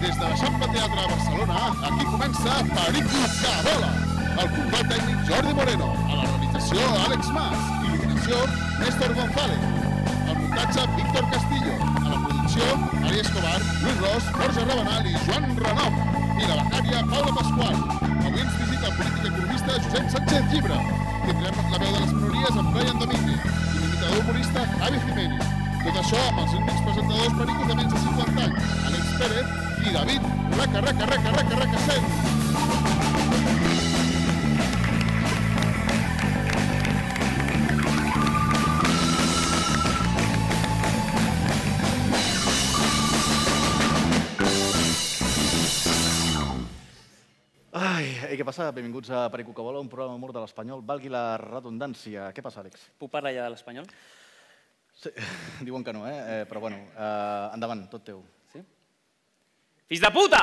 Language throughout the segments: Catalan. Des de l'Eixample Teatre a Barcelona, aquí comença Pericles que vola. El control tècnic Jordi Moreno, a la realització Àlex Mas, il·luminació Néstor González, el muntatge Víctor Castillo, a la producció Ari Escobar, Lluís Ros, Borja Rabanal i Joan Renom, i la becària Paula Pasqual. Avui ens visita el polític economista Josep Sánchez Llibre. Tindrem la veu de les minories amb Brian Domínguez i l'imitador humorista Javi Jiménez. Tot això amb els únics presentadors pericos de menys de 50 anys, Àlex Pérez i David Raca, Raca, Raca, Raca, Raca, Sen. Ai, ei, què passa? Benvinguts a Perico que vola, un programa d'humor de l'Espanyol. Valgui la redundància. Què passa, Àlex? Puc parlar ja de l'espanyol? Sí, diuen que no, eh? eh però bueno, eh, endavant, tot teu. Sí? Fills de puta!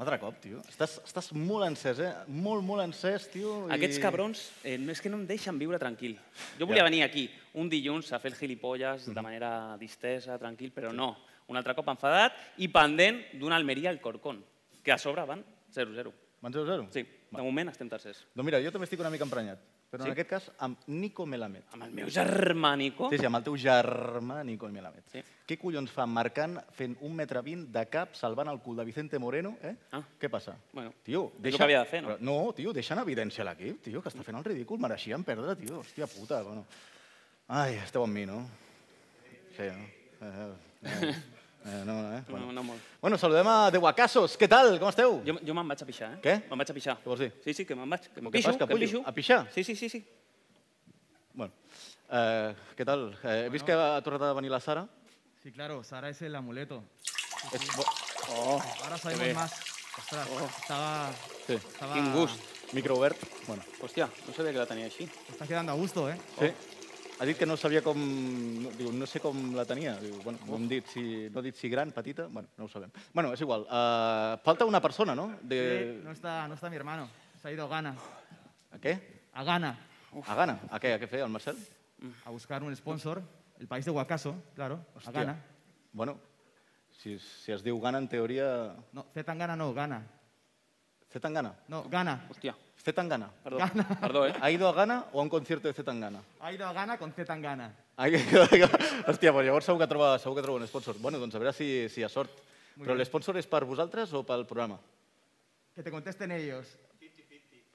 Un altre cop, tio. Estàs, estàs molt encès, eh? Molt, molt encès, tio. i- Aquests cabrons eh, no és que no em deixen viure tranquil. Jo volia Ja. Mhm. venir aquí un dilluns a fer el gilipolles de manera distesa, tranquil, però no. Un altre cop enfadat i pendent d'una Almeria al Corcón, que a sobre van 0-0. Van 0-0? Sí, de moment estem tercers. Doncs mira, jo també estic una mica emprenyat. Però Sí? en aquest cas amb Nico Melamed. Amb el meu germànico... Sí, sí, amb el teu germà Nico Melamed. Sí. Què collons fa marcant, fent un metre vint de cap, salvant el cul de Vicente Moreno? Eh? Ah. Què passa? Bueno, tio, és el que havia de fer, no? però- No, tio, deixa en evidència l'equip, tio, que està fent el ridícul. Mereixien perdre, tio, hòstia puta. Bueno. Ai, esteu amb mi, no? Sí, no? Eh, eh, eh, no, no, eh? Bueno. No, no molt. bueno, saludem a Deu Acasos. Què tal? Com esteu? Jo, jo me'n vaig a pixar, eh? Què? Me'n vaig a pixar. Què vols dir? Sí, sí, que me'n vaig. Que Però em què pixo, fas, que em capullo? pixo. A pixar? Sí, sí, sí. sí. Bueno, eh, què tal? Eh, he vist que ha tornat a venir la Sara. Sí, claro, Sara es el amuleto. És bo... Oh, Ahora sabemos ve. más. Ostras, pues, estaba, sí. estaba... Quin gust. Micro obert. Bueno. Hòstia, no sabia que la tenia així. te Estás quedando a gusto, ¿eh? Sí. Ha dit que no sabia com... no- Diu, no sé com la tenia. Diu, bueno, no, hem dit si, no ha dit si gran, petita, bueno, no ho sabem. Bueno, és igual. Uh, falta una persona, no? Sí, De... no, está, no está mi hermano. Se ha ido a Ghana. A què? A Ghana. A Ghana. A què? A què feia el Marcel? A buscar un sponsor. El país de Huacaso, claro. A Ghana. Bueno, si, si es diu Ghana, en teoria... No, Z tan Ghana no, Ghana. Zetangana. No, Ghana. Hòstia, Zetangana. perdó. Perdó, eh? ¿Ha ido a Ghana o a un concierto de Zetangana? Ha ido a Ghana con Z tan Ghana. Ai, Hòstia, però llavors segur que troba, segur que troba un sponsor. Bueno, doncs a veure si, si hi ha sort. Però l'esponsor és per vosaltres o pel programa? Que te contesten ellos.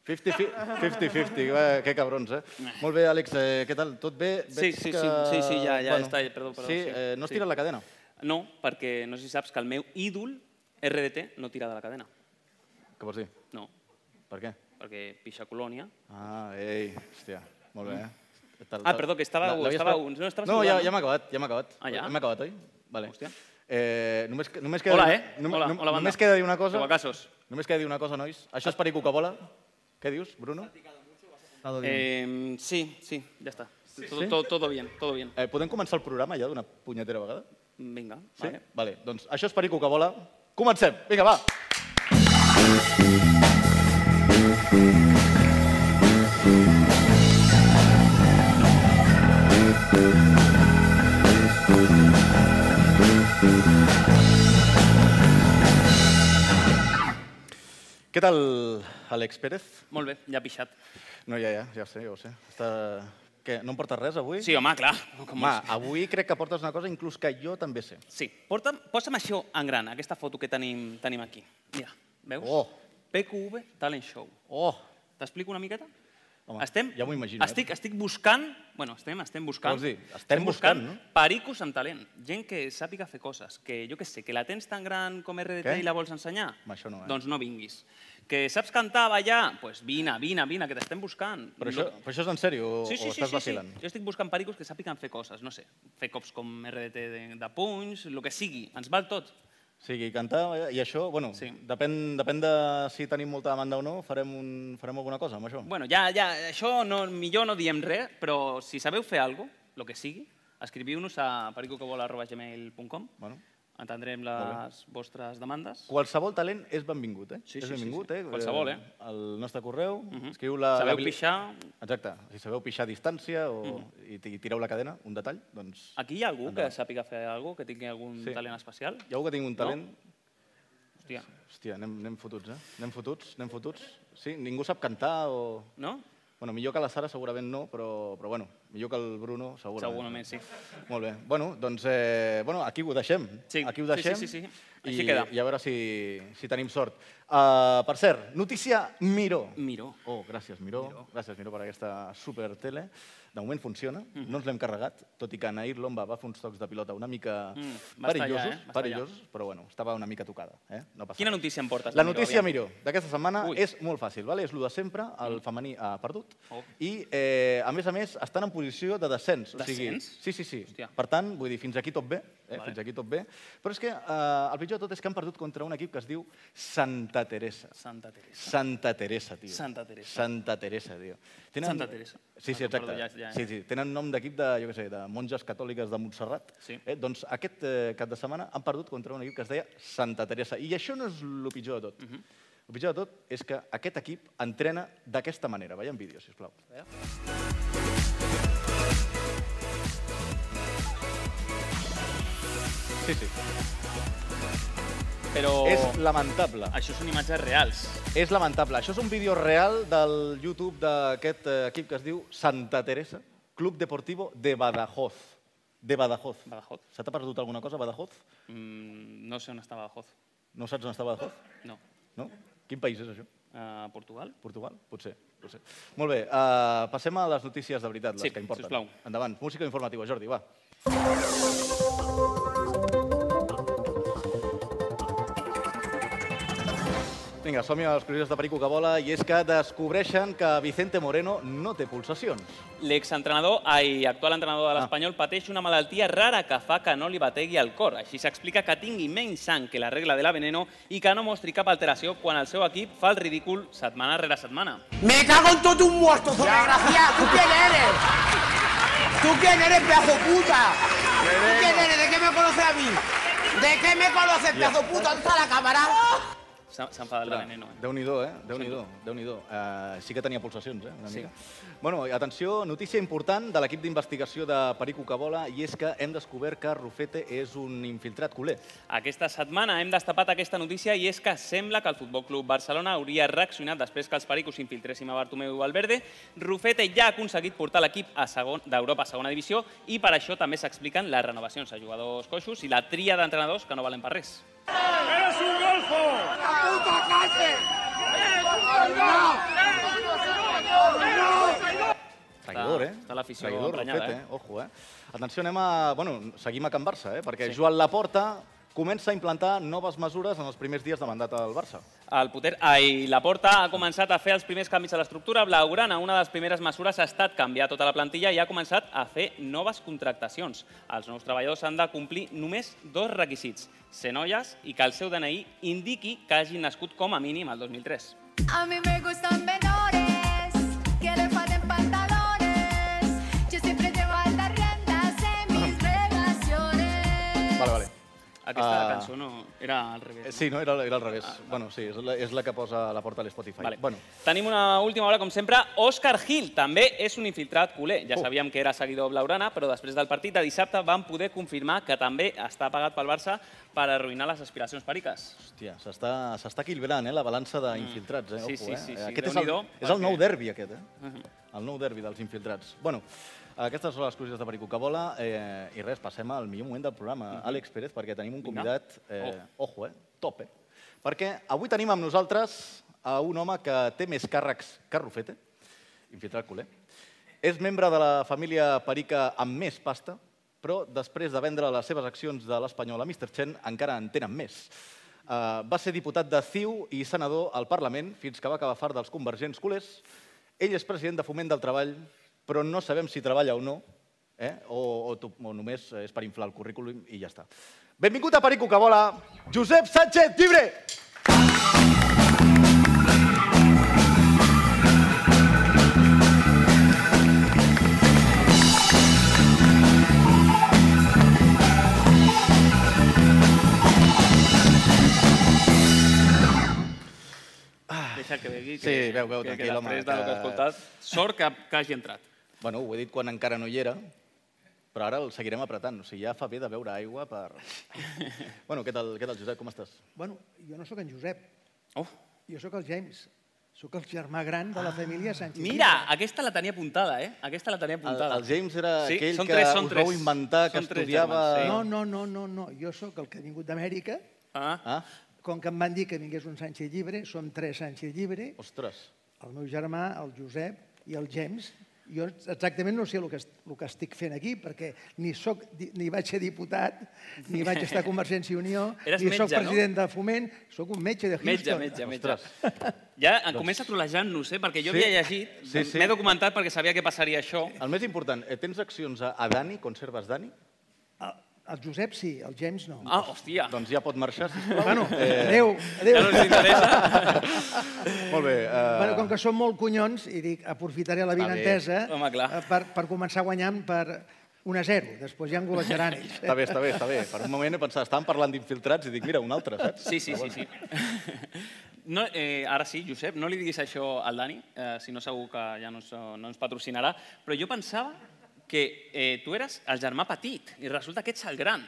50-50, eh, que cabrons, eh? Molt bé, Àlex, eh, què tal? Tot bé? Sí, Veig sí, que... sí, sí, sí, ja- ja està, perdó, perdó, Sí, sí, eh, no sí. estira la cadena. No, perquè no sé si saps que el meu ídol, RDT, no tira de la cadena. Què vols dir? No, Per què? perquè pixa colònia. Ah, ei, hòstia, molt bé. eh? Tal, Ah, perdó, que estava- La- l'havies estava pre- un- no, estaves no, ja, saludant, ja m'ha acabat, ja m'ha acabat. Ah, ja? Hem acabat, oi? Vale. Hòstia. Eh, només, que- només queda Hola, dir- eh? nom- hola, nom- hola, banda. Només queda dir una cosa. Guacasos. Només queda dir una cosa, nois. Això és Perico que vola. Què dius, Bruno? Ha estado bien. Eh, sí, sí, ja està. Todo, todo, todo bien, todo bien. Eh, podem començar el programa ja d'una punyetera vegada? Vinga, Sí? vale. Vale, doncs això és Perico que vola. Comencem! Vinga, va! Què tal, Àlex Pérez? Molt bé, ja ha pixat. No, ja, ja, ja ho sé, ja ho sé. Està... Què, no em portes res avui? Sí, home, clar. No, com Home, és? avui crec que portes una cosa inclús que jo també sé. Sí, porta'm, posa'm això en gran, aquesta foto que tenim, tenim aquí. Mira, veus? Oh. PQV Talent Show. Oh! T'explico una miqueta? Home, estem, ja m'ho imagino, eh? Estic, estic buscant, bueno, estem, estem buscant, Vols dir, estem buscant, no? pericos amb talent, gent que sàpiga fer coses, que jo que sé, que la tens tan gran com RDT Què? i la vols ensenyar, Home, això no, eh? doncs no vinguis. Que saps cantar, ballar, doncs pues vine, vine, vine, que t'estem buscant. Però això, però això és en sèrio o, Sí, sí, o sí, estàs sí, sí. vacilant? Jo estic buscant pericos que sàpiguen fer coses, no sé, fer cops com RDT de, de punys, el que sigui, ens val tot. O sigui, cantar eh, i això, bueno, Sí. depèn, depèn de si tenim molta demanda o no, farem, un, farem alguna cosa amb això. Bueno, ja, ja, això no, millor no diem res, però si sabeu fer alguna cosa, el que sigui, escriviu-nos a pericoquevola.gmail.com. Bueno. Entendrem les vostres demandes. Qualsevol talent és benvingut, eh? Sí, és sí, sí, benvingut, sí. Eh? Qualsevol, eh? Mhm. El nostre correu, escriu la... Sabeu la... pixar? Exacte, si sabeu pixar a distància o... Mm. i, i tireu la cadena, un detall, doncs... Aquí hi ha algú que Endavant. sàpiga fer alguna cosa, que tingui algun Sí. talent especial? Hi ha algú que tingui un talent... No? Hòstia, Hòstia, anem, anem fotuts, eh? Anem fotuts, anem fotuts. Sí, ningú sap cantar o... no? Bueno, millor que la Sara segurament no, però, però bueno, millor que el Bruno Segurament segurament. sí. Molt bé. Bueno, doncs eh, bueno, aquí ho deixem. Sí, Aquí ho sí, deixem. sí, sí, sí. Així I, queda. I a veure si, si tenim sort. Uh, per cert, notícia Miró. Miró. Oh, gràcies, Miró. Miró. Gràcies, Miró, per aquesta super tele. De moment funciona, mm. no ens l'hem carregat, tot i que Nair Lomba va fer uns tocs de pilota una mica Mm, va estar perillosos, allà, eh? Va estar perillosos, però bueno, estava una mica tocada. Eh? No passa Quina res. notícia em portes? La Miró, notícia, aviam? Miró, d'aquesta setmana Ui. Mm. és molt fàcil, vale? és el de sempre, el femení ha perdut, Oh. i eh, a més a més estan en posició de descens. O sigui, Descens? sí, sí, sí. Hòstia. Per tant, vull dir, fins aquí tot bé, eh? Vale. fins aquí tot bé. Però és que eh, el pitjor de tot és que han perdut contra un equip que es diu Santa Teresa. Santa Teresa. Santa Teresa, tio. Santa Teresa. Santa Teresa, tio. Santa Teresa. Sí, sí, Ah, perdó, exacte. ja- ja, eh? Sí, sí. Tenen nom d'equip de, jo què sé, de monges catòliques de Montserrat. Sí. Eh? Doncs aquest eh, cap de setmana han perdut contra un equip que es deia Santa Teresa. I això no és el pitjor de tot. Mhm. El pitjor de tot és que aquest equip entrena d'aquesta manera. Veiem vídeo, sisplau. Sí, sí. Però És lamentable. això són imatges reals. És lamentable. Això és un vídeo real del YouTube d'aquest eh, equip que es diu Santa Teresa, Club Deportivo de Badajoz. De Badajoz. Badajoz. Se t'ha perdut alguna cosa, a Badajoz? Mm, no sé on està Badajoz. No saps on està Badajoz? No. No? Quin país és això? Uh, Portugal? Portugal? Potser. potser. Molt bé, eh, passem a les notícies de veritat, les Sí, que importen. sisplau. Endavant. Música informativa, Jordi, va. Vinga, som-hi a les curioses de Perico que vola i és que descobreixen que Vicente Moreno no té pulsacions. L'exentrenador i actual entrenador de Ah. l'Espanyol pateix una malaltia rara que fa que no li bategui el cor. Així s'explica que tingui menys sang que la regla de la veneno i que no mostri cap alteració quan el seu equip fa el ridícul setmana rere setmana. Me cago en todo tu muerto, sobregraciado. ¿Tú quién eres? ¿Tú quién eres, pedazo puta? ¿Tú quién eres? ¿De qué me conoces a mí? ¿De qué me conoces, pedazo puta? ¿Dónde está la cámara? S'ha s'ha enfadat la veneno. Eh? Déu-n'hi-do, eh? Déu-n'hi-do, Déu-n'hi-do. Uh, sí que tenia pulsacions, eh? Una mica. Bueno, i atenció, notícia important de l'equip d'investigació de Perico Cabola i és que hem descobert que Rufete és un infiltrat culer. Aquesta setmana hem destapat aquesta notícia i és que sembla que el Futbol Club Barcelona hauria reaccionat després que els pericos s'infiltréssim a Bartomeu Valverde. Rufete ja ha aconseguit portar l'equip a segon- d'Europa a segona divisió i per això també s'expliquen les renovacions a jugadors coixos i la tria d'entrenadors que no valen per res. Traïdor, eh? està l'afició Traïdor, emprenyada, Rufete, eh? eh? Ojo, eh? Atenció, anem a... Bueno, seguim a Can Barça, eh? Perquè Joan Laporta comença a implantar noves mesures en els primers dies de mandat al Barça. El poder... Ai, la Porta ha començat a fer els primers canvis a l'estructura blaugrana. Una de les primeres mesures ha estat canviar tota la plantilla i ha començat a fer noves contractacions. Els nous treballadors han de complir només dos requisits, ser noies i que el seu DNI indiqui que hagin nascut com a mínim el 2003. A mí me gustan menores, que le falten pantalones. Yo siempre llevo altas rentas en mis relaciones. Vale, vale. Aquesta Ah. cançó no era al revés. Eh, no? Ah, Sí, no? Era, era al revés. bueno, sí, és la, és la que posa la porta a l'Spotify. Vale. Bueno, Tenim una última hora, com sempre. Òscar Gil també és un infiltrat culer. Ja Oh. sabíem que era seguidor blaugrana, però després del partit de dissabte van poder confirmar que també està pagat pel Barça per arruïnar les aspiracions periques. Hòstia, s'està s'està equilibrant, eh, la balança d'infiltrats, eh? Mm. Sí, Ojo, sí, eh? sí, sí, Aquest és el, déu-n'hi-do, és el nou perquè- derbi, aquest, eh? El nou derbi dels infiltrats. Bueno, aquestes són les curioses de Perico que vola. Eh, I res, passem al millor moment del programa. Àlex Pérez, perquè tenim un Vinga. convidat, eh, ojo, eh? Top, eh? Perquè avui tenim amb nosaltres a un home que té més càrrecs que Rufete, infiltrat culer. És membre de la família Perica amb més pasta, però després de vendre les seves accions de l'Espanyol a Mr. Chen encara en tenen més. Uh, va ser diputat de CiU i senador al Parlament fins que va acabar fart dels convergents culers. Ell és president de Foment del Treball, però no sabem si treballa o no, eh? o, o, tu- o només és per inflar el currículum i ja està. Benvingut a Perico que vola, Josep Sánchez Llibre! Deixa que vegi. Que, Ah. Sí, veu, veu, que, tranquil, que home, després del que he que- escoltat, sort que, que hagi entrat. Bueno, ho he dit quan encara no hi era, però ara el seguirem apretant. O sigui, ja fa bé de beure aigua per... bueno, què tal, què tal Josep? Com estàs? Bueno, jo no sóc en Josep, Oh, Ah, jo sóc el James. Sóc el germà gran de la família Sánchez. mira, aquesta la tenia apuntada, eh? Aquesta la tenia El, apuntada. el James era Sí, aquell són que tres, són us vau tres. inventar, que Són tres estudiava... germans, sí. No, no, no, no, no. Jo sóc el que ha vingut d'Amèrica. Ah, Ah, Com que em van dir que vingués un Sánchez llibre, som tres Sánchez llibre, ostres. el meu germà, el Josep i el James. Jo exactament no sé el que, est- el que estic fent aquí, perquè ni, soc, di- ni vaig ser diputat, ni vaig estar a Convergència i Unió, Eres ni soc metge, no? president de Foment, sóc un metge de metge, metge, Houston. metge. Ja em comença trolejant-nos, eh? Perquè jo Doncs- Sí. havia llegit, Sí, sí. m'he documentat perquè sabia que passaria això. El més important, eh, tens accions a, a Dani? Conserves Dani? El, el Josep sí, el James no. Ah, hòstia. Doncs ja pot marxar, sisplau. Bueno, adeu, adeu. eh, Ja no ens interessa. Eh, Molt bé. eh, Ah, Bueno, com que som molt conyons, i dic, aprofitaré la vinentesa bé. Home, clar. eh, per, per començar guanyant per 1 a 0. Després ja engolejaran ells. Està bé, està bé, està bé. Per un moment he pensat, estàvem parlant d'infiltrats i dic, mira, un altre, saps? Sí, sí, sí, sí. No, eh, ara sí, Josep, no li diguis això al Dani, eh, si no segur que ja no, ens- no ens patrocinarà, però jo pensava que eh, tu eres el germà petit i resulta que ets el gran.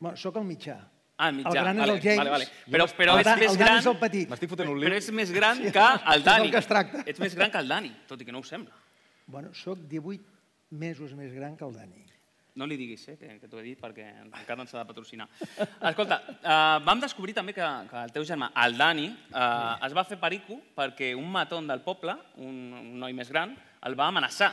Bueno, soc el mitjà. Ah, mitjà. El gran és vale, el James. Vale, vale. Però, però el, ets Dan, més el Dan gran... és el petit. M'estic fotent un Però lío. ets més gran que el Dani. del que es tracta. Ets més gran que el Dani, tot i que no ho sembla. Bueno, soc 18 mesos més gran que el Dani. No li diguis, eh, que, que t'ho he dit, perquè encara ens ha de patrocinar. Escolta, eh, vam descobrir també que, que el teu germà, el Dani, eh, es va fer perico perquè un matón del poble, un, un noi més gran, el va amenaçar,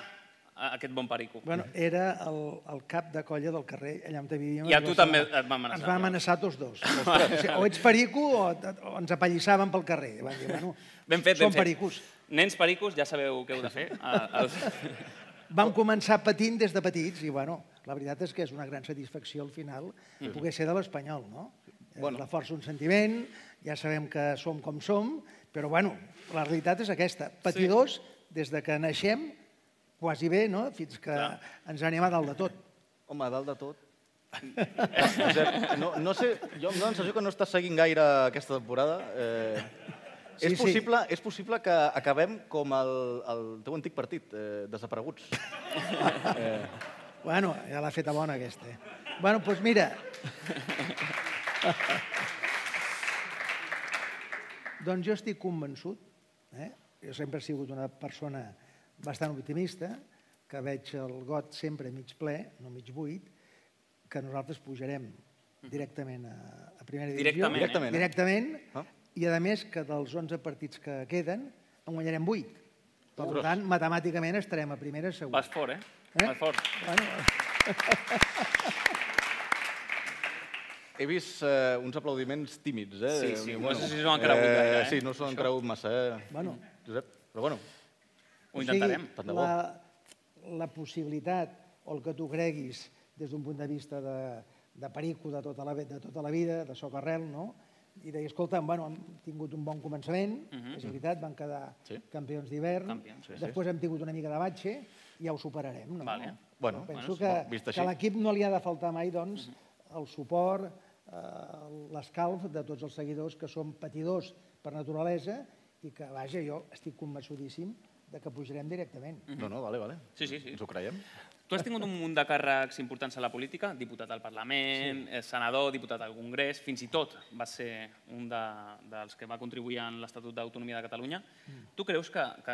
a- aquest bon perico. Bueno, era el, el cap de colla del carrer, allà on vivíem. I a tu es va- també et va amenaçar, Ens va clar. amenaçar tots dos. O sigui, o ets perico o, o ens apallissaven pel carrer. Van dir, bueno, Ben fet, som ben fet. pericos. Nens pericos, ja sabeu què heu de fer. Eh, els... Vam començar patint des de petits i, bueno, la veritat és que és una gran satisfacció al final Mm. poder ser de l'Espanyol, no? Bueno. Bueno. La força un sentiment, ja sabem que som com som, però, bueno, la realitat és aquesta. Patidors des de que naixem, quasi bé, no?, fins que ens anem a dalt de tot. Home, a dalt de tot... Josep, no, no sé, jo em dóna la sensació que no estàs seguint gaire aquesta temporada. Eh, Sí, és, sí. possible, és possible que acabem com el, el teu antic partit, eh, desapareguts. Eh, Bueno, ja l'ha feta bona, aquesta. Bueno, doncs mira... doncs jo estic convençut, eh? jo sempre he sigut una persona bastant optimista, que veig el got sempre mig ple, no mig buit, que nosaltres pujarem directament a, a primera divisió. Directament, eh? Mhm. Directament, eh? Directament. Ah. I a més que dels 11 partits que queden en guanyarem 8. Per tant, matemàticament estarem a primera segur. Vas fort, eh? eh? Vas fort. Bueno, He vist eh, uns aplaudiments tímids, eh? Sí, sí, Diu, no sé si s'ho han cregut gaire, eh? Sí, no s'ho han cregut massa, eh? Bueno. Josep, però bueno, Ho intentarem. tant de bo. la, la possibilitat, o el que tu creguis des d'un punt de vista de, de perico de tota, la, vi- de tota la vida, de soc arrel, no? i deia, escolta, bueno, hem tingut un bon començament, és veritat, van quedar Sí. campions d'hivern, Mhm, Campions, després hem tingut una mica de batxe, i ja ho superarem. No? Vale. Bueno, Penso bueno, que, vist així. que a l'equip no li ha de faltar mai doncs, el suport, eh, l'escalf de tots els seguidors que són patidors per naturalesa i que, vaja, jo estic convençudíssim de que pujarem directament. No, no, vale, vale. Sí, sí, sí. Ens ho creiem. Tu has tingut un munt de càrrecs importants a la política, diputat al Parlament, sí. senador, diputat al Congrés, fins i tot va ser un de, dels que va contribuir en l'Estatut d'Autonomia de Catalunya. Tu creus que, que,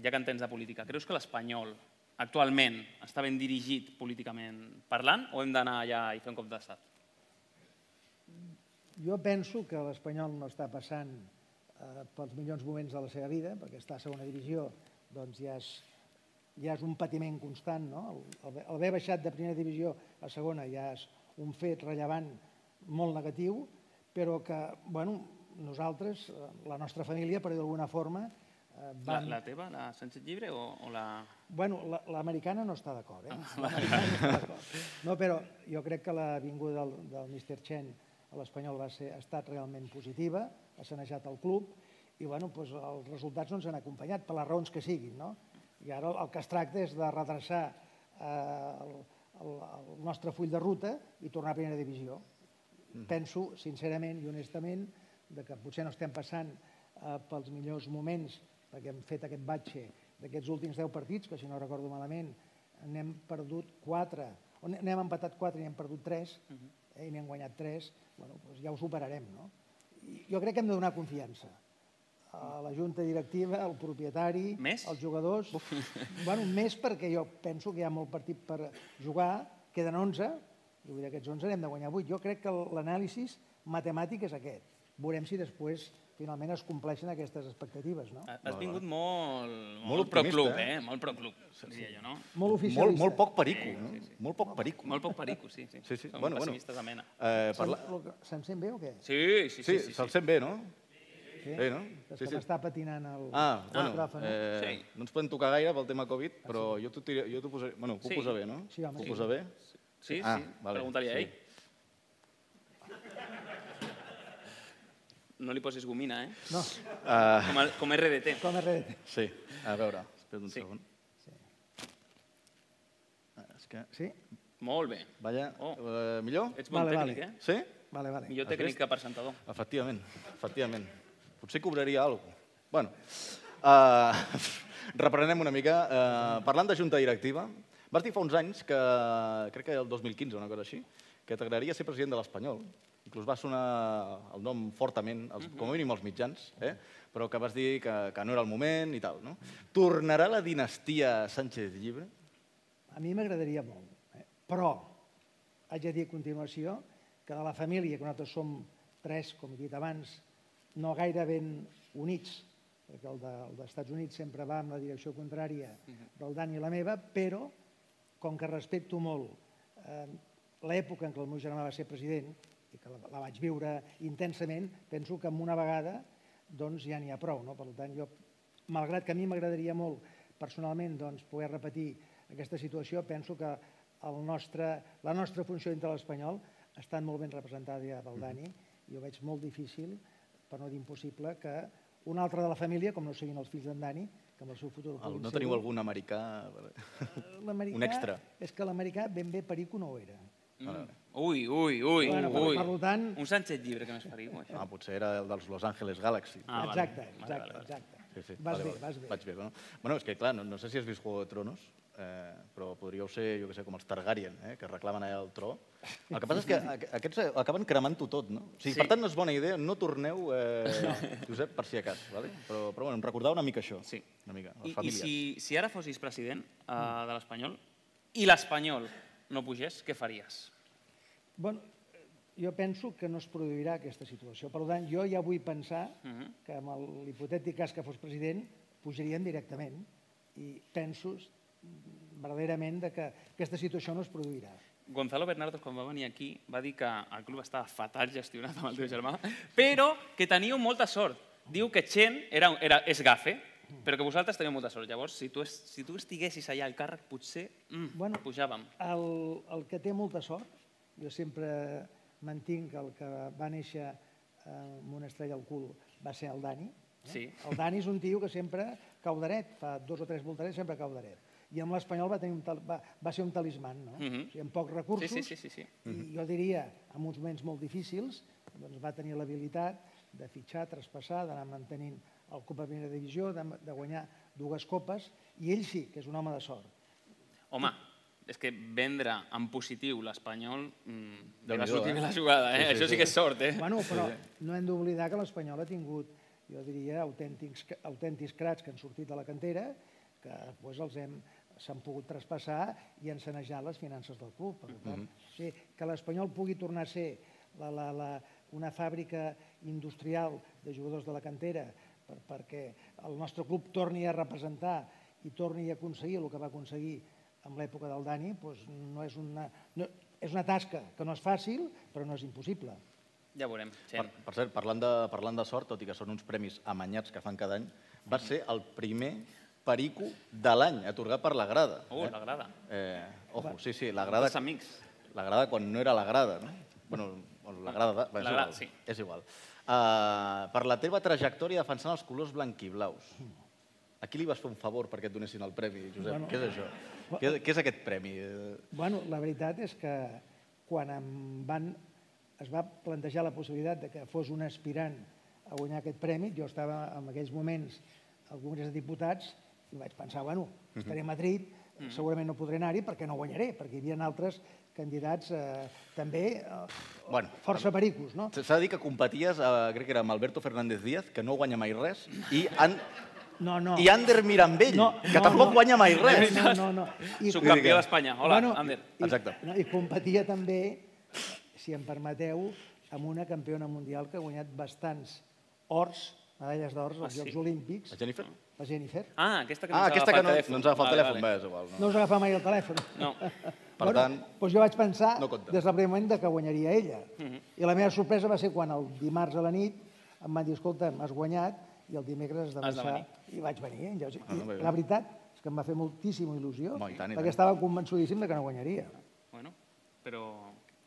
ja que entens de política, creus que l'espanyol actualment està ben dirigit políticament parlant o hem d'anar allà i fer un cop d'estat? Jo penso que l'Espanyol no està passant eh, pels millors moments de la seva vida, perquè està a segona divisió, doncs ja és, ja és un patiment constant, no? El- el- el Haver baixat de primera divisió a segona ja és un fet rellevant molt negatiu, però que, bueno, nosaltres, eh, la nostra família, per dir d'alguna forma, eh, La, vam... la teva, la Sánchez Llibre o, o la... Bueno, la- l'americana no està d'acord, eh? Ah, L'americana no està d'acord. No, però jo crec que la vinguda del, del Mr. Chen a l'Espanyol va ser, ha estat realment positiva, ha sanejat el club i bueno, doncs els resultats no ens han acompanyat, per les raons que siguin. No? I ara el, el que es tracta és de redreçar eh, el, el, el nostre full de ruta i tornar a primera divisió penso sincerament i honestament de que potser no estem passant eh, pels millors moments perquè hem fet aquest batxe d'aquests últims 10 partits, que si no recordo malament n'hem perdut 4 on n'hem empatat 4 i n'hem perdut 3, eh, i n'hem guanyat 3, bueno, doncs ja ho superarem, no? I jo crec que hem de donar confiança a la junta directiva, al propietari, Més? als jugadors... Bueno, més perquè jo penso que hi ha molt partit per jugar, queden 11, i vull dir, aquests 11 n'hem de guanyar 8. Jo crec que l'anàlisi matemàtic és aquest. Veurem si després finalment es compleixen aquestes expectatives, no? Ah, Has vingut molt... Molt pro optimista, club, eh? eh? Molt pro club, diria jo, no? Molt oficialista. Molt, molt poc perico, no? Molt poc perico. Molt poc perico, sí, sí. Sí, sí. Som Bueno, bueno. pessimistes a mena. Eh, Se'm, parla... lo que- se'm sent bé o què? Sí, sí, Sí, sí. se'l sent bé, no? Sí, no? És Sí, que sí. m'està patinant el, Ah, el bueno, micròfon. eh, Sí. Ah, no ens podem tocar gaire pel tema Covid, però jo t'ho tiré- jo t'ho posaré... Bueno, ho puc Sí. posar bé, no? Sí, home, Puc sí. posar bé? Sí, Ah, sí, vale, preguntaria a sí. ell. No li posis gomina, eh? No, Ah, Com, el, com RDT. com a redet. sí, a veure, espera un Sí. segon. Ah, és que... Sí? Molt bé. Vaya, Oh. eh, millor? Ets bon Vale, vale. tècnic, Sí? Vale, eh? vale. Millor Has tècnic vist? que presentador. Efectivament, efectivament. Potser cobraria alguna cosa. Bueno, eh, reprenem una mica. Eh, parlant de junta directiva, vas dir fa uns anys, que crec que el 2015 o una cosa així, que t'agradaria ser president de l'Espanyol. Inclús va sonar el nom fortament, Mhm. als, com a mínim als mitjans, eh? però que vas dir que, que no era el moment i tal. No? Tornarà la dinastia Sánchez Llibre? A mi m'agradaria molt, eh? però haig de dir a continuació que de la família, que nosaltres som tres, com he dit abans, no gaire ben units, perquè el, de, el dels Estats Units sempre va en la direcció contrària del Dan i la meva, però com que respecto molt eh, l'època en què el meu germà va ser president i que la, la vaig viure intensament, penso que en una vegada doncs, ja n'hi ha prou. No? Per tant, jo, malgrat que a mi m'agradaria molt personalment doncs, poder repetir aquesta situació, penso que el nostre, la nostra funció dintre l'Espanyol ha estat molt ben representada ja pel Dani Mm-hmm. i ho veig molt difícil, per no dir impossible, que un altre de la família, com no siguin els fills d'en Dani, que amb el seu futur El, puguin no ser-ho, teniu algun americà? Eh, L'americà- Un extra. És que l'americà ben bé perico no ho era. Mm. Ui, ui, ui, Bueno, per- ui. per tant- Un Sánchez llibre que no és perico, això. Ah, potser era el dels Los Angeles Galaxy. Ah, vale. exacte, Vale, exacte, vale, vale. exacte. Sí, sí. Vas vale, bé, vale. vas bé. Vaig bé, bueno. bueno, és que clar, no, no sé si has vist Juego de Tronos, eh, però podríeu ser, jo que sé, com els Targaryen, eh, que reclamen allà el tro. El que passa és que a- aquests eh, acaben cremant-ho tot, no? O sigui, Sí. Per tant, no és bona idea, no torneu, eh, Josep, per si de cas, vale? però, però bueno, em recordava una mica això. Sí. Una mica, les I, i famílies. Mm. si, si ara fossis president uh, de l'Espanyol i l'Espanyol no pugés, què faries? Bueno, jo penso que no es produirà aquesta situació. Per tant, jo ja vull pensar Mhm. que amb el- l'hipotètic cas que fos president, pujarien directament i penso mm, verdaderament de que aquesta situació no es produirà. Gonzalo Bernardos, quan va venir aquí, va dir que el club estava fatal gestionat amb el teu germà, però que teníeu molta sort. Diu que Chen era, era, és gafe, però que vosaltres teníeu molta sort. Llavors, si tu, es, si tu estiguessis allà al càrrec, potser mm, Bueno. bueno. pujàvem. El, el que té molta sort, jo sempre mantinc que el que va néixer eh, amb una estrella al cul va ser el Dani. Sí. El Dani és un tio que sempre cau dret, fa dos o tres voltarets sempre cau dret. I amb l'Espanyol va, tenir un tal, va, va ser un talisman, no? Mhm. o sigui, amb pocs Sí, recursos, sí, sí, sí, sí. i jo diria, en uns moments molt difícils, doncs va tenir l'habilitat de fitxar, traspassar, d'anar mantenint el Copa Primera Divisió, de, de guanyar dues copes, i ell sí, que és un home de sort. Home, és que vendre en positiu l'Espanyol mm, li va Déu-n'hi-do, sortir eh? bé la jugada, eh? Sí, sí, Això sí. sí que és sort, eh? Bueno, però no hem d'oblidar que l'Espanyol ha tingut, jo diria, autèntics, autèntics crats que han sortit de la cantera, que doncs, els hem s'han pogut traspassar i han sanejat les finances del club. Per tant, o sigui, que l'Espanyol pugui tornar a ser la, la, la, una fàbrica industrial de jugadors de la cantera per, perquè el nostre club torni a representar i torni a aconseguir el que va aconseguir amb l'època del Dani, doncs no és, una, no, és una tasca que no és fàcil, però no és impossible. Ja veurem, Per, Chen. per cert, parlant de, parlant de sort, tot i que són uns premis amanyats que fan cada any, va ser el primer perico de l'any, atorgat per la grada. Oh, la grada. Eh, ojo, sí, sí, la grada... Els amics. La grada quan no era la grada, no? Bueno, o la grada, de- és La igual. grada, sí. És igual. Uh, per la teva trajectòria defensant els colors blanc i blaus, a qui li vas fer un favor perquè et donessin el premi, Josep? Què és això? Què, què és aquest premi? Eh, Bueno, la veritat és que quan em van, es va plantejar la possibilitat de que fos un aspirant a guanyar aquest premi, jo estava en aquells moments al Congrés de Diputats i vaig pensar, bueno, estaré a Madrid, segurament no podré anar-hi perquè no guanyaré, perquè hi havia altres candidats eh, també eh, Bueno, força pericos, no? S'ha de dir que competies, eh, crec que era amb Alberto Fernández Díaz, que no guanya mai res, i, An No, no. i Ander Mirambell, No, que no, tampoc no. guanya mai res. No, no, no. I, Subcampió d'Espanya. Hola, Ander. I, Exacte. No, I competia també, si em permeteu, amb una campiona mundial que ha guanyat bastants ors, medalles d'ors als Ah, sí? Jocs Olímpics, La Jennifer? la Jennifer. Ah, aquesta que no Ah, ens aquesta agafa que el no, telèfon. no ens agafa el Vale, telèfon, vale. bé, és igual. No. No us agafa mai el telèfon. No. Per tant, Doncs jo vaig pensar, no compta. des del primer moment, de que guanyaria ella. Mhm. I la meva sorpresa va ser quan el dimarts a la nit em van dir, escolta, m'has guanyat, i el dimecres has de Has de marxar. I vaig venir. eh? Llavors, Ah, no, bé, i bé. la veritat és que em va fer moltíssima il·lusió, Home, i tant, i perquè tant. estava convençudíssim de que no guanyaria. Bueno, però...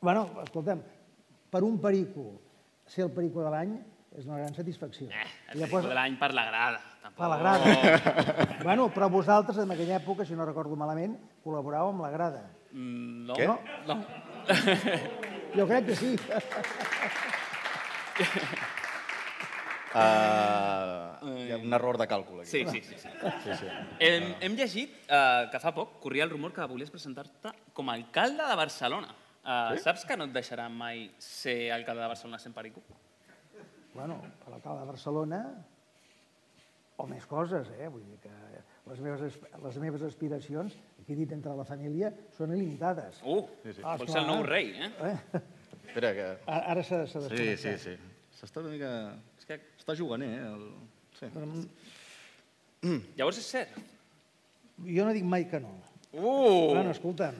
Bueno, escolta'm, per un perico, ser el perico de l'any és una gran satisfacció. Eh, I el perico de l'any per la grada. Tampoc... a la grada. Oh. bueno, però vosaltres, en aquella època, si no recordo malament, col·laboràveu amb la grada. Mm, no. Què? No. no. Jo crec que sí. eh, hi ha un error de càlcul aquí. Sí, sí, sí. sí. sí, sí. Hem, hem llegit eh, que fa poc corria el rumor que volies presentar-te com a alcalde de Barcelona. Eh, Saps que no et deixaran mai ser alcalde de Barcelona sent perico? bueno, per l'alcalde de Barcelona, o més coses, eh? Vull dir que les meves, asp- les meves aspiracions, aquí dit entre la família, són il·limitades. Uh, Sí, sí. Ah, vols ser esclar. el nou rei, eh? Eh? Espera, que... Ara ara s'ha s'ha Sí, desconnectat. sí, sí. S'està una mica... És que, Està jugant, eh? El... Sí. mm. Mm. llavors és cert. Jo no dic mai que no. Uh! Bueno, escolta'm,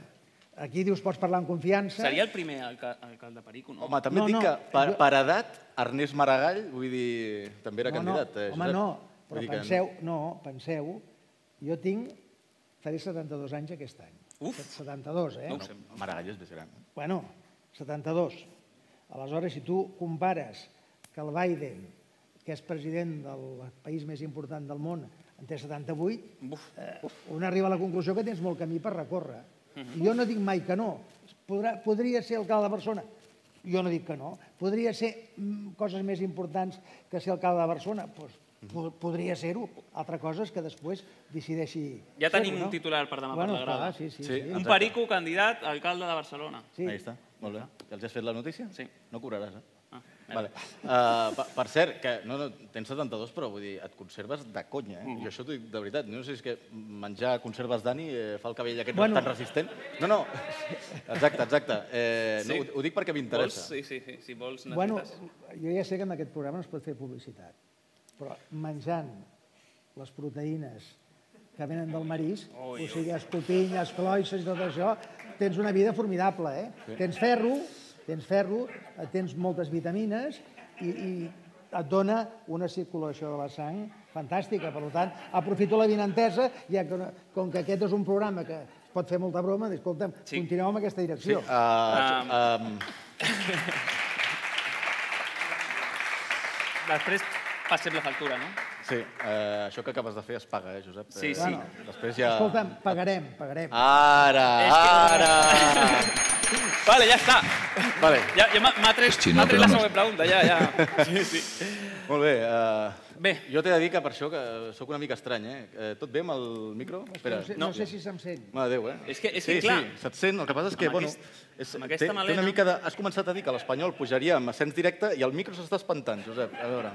aquí dius pots parlar amb confiança. Seria el primer alca alcalde perico, no? Home, també No, et dic no, eh, que per, jo- per edat, Ernest Maragall, vull dir, també era no, candidat. Eh, Josep? No, home, no, Vull però dir que penseu, no, penseu, jo tinc, faré 72 anys aquest any. Uf. 72, eh? No ho No, Maragall és més gran. Bueno, 72. Aleshores, si tu compares que el Biden, que és president del país més important del món, en té 78, Buf. eh, un arriba a la conclusió que tens molt camí per recórrer. I jo no dic mai que no. Podrà, podria ser alcalde de Barcelona? Jo no dic que no. Podria ser mm, coses més importants que ser alcalde de Barcelona? Pues, po podria ser-ho. Altra cosa és que després decideixi... Ja fer-ho, tenim un titular per demà per bueno, la grada. Clar, sí, sí, Sí, sí. Un Exacte. perico candidat a alcalde de Barcelona. sí. Ahí està, molt bé. Ja els has fet la notícia? Sí. No cobraràs, eh? Ah, Vale. Uh, per, per cert, que no, no, tens 72, però vull dir, et conserves de conya, Mm. eh? Jo això t'ho dic de veritat. No sé si és que menjar conserves d'Ani eh, fa el cabell aquest Bueno. bueno. tan resistent. No, no, exacte, exacte. Eh, no, Sí. ho, ho dic perquè Vols? m'interessa. Sí, sí, sí. Si vols, necessites. Bueno, jo ja sé que en aquest programa no es pot fer publicitat, però menjant les proteïnes que venen del marís, Ui, o sigui, escopinyes, cloixes i tot això, tens una vida formidable, eh? Tens ferro, tens ferro, eh, tens moltes vitamines i, i et dona una circulació de la sang fantàstica. Per tant, aprofito la vinentesa, ja que, no- com que aquest és un programa que es pot fer molta broma, dic, escolta'm, Sí. ah, continuem amb aquesta Sí, direcció. uh, um, Després passem la factura, no? sí uh, això que acabes de fer es paga, eh, Josep? Sí, Eh, sí. Després ja... Escolta'm, pagarem, pagarem. Ara, ara... Vale, ja està. vale, Ja, ja m'ha m'ha tret, Si m'ha no, tret però la no. següent pregunta, ja, ja. Sí, sí. molt bé. Uh, Bé, jo t'he de dir que per això que sóc una mica estrany, eh? Eh, Tot bé amb el micro? Espera. no sé, no sé si se'm sent. Mare de Déu, eh? És que- és sí, que, clar, Sí, se't sent, el que passa és que, amb bueno, aquest- és, amb té, aquesta té melena- una mica de... Has començat a dir que l'Espanyol pujaria amb ascens directe i el micro s'està espantant, Josep. A veure...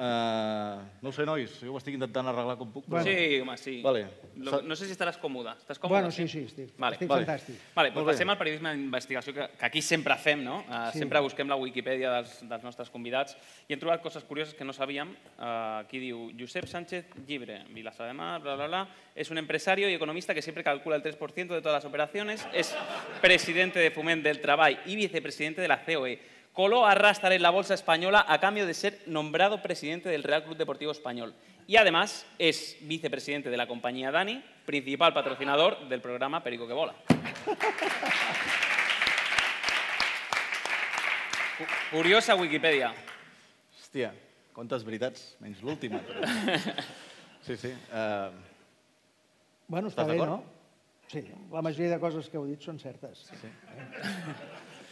Uh, no ho sé, nois, jo ho estic intentant arreglar com puc, però... sí, home, sí. Vale. Lo- no sé si estaràs còmode. Estàs còmode? Bueno, sí, sí, estic, Vale, estic vale. fantàstic. Vale, doncs Molt bé. passem al periodisme d'investigació, que, que aquí sempre fem, no? Uh, Sí. Sempre busquem la Wikipedia dels, dels nostres convidats i hem trobat coses curioses que no sabíem. Uh, aquí diu, Josep Sánchez Llibre, Vilassar de Mar, bla, bla, bla, es un empresario y economista que siempre calcula el 3% de todas las operaciones, es presidente de Foment del Trabajo y vicepresidente de la COE. Coló a Rastar en la bolsa española a cambio de ser nombrado presidente del Real Club Deportivo Español. Y además es vicepresidente de la compañía Dani, principal patrocinador del programa Perico que Bola. Curiosa Wikipedia. Hòstia, quantes veritats, menys l'última. Però... Sí, sí. Uh, Bueno, està Estàs bé, no? d'acord? Sí, la majoria de coses que heu dit són certes. Sí.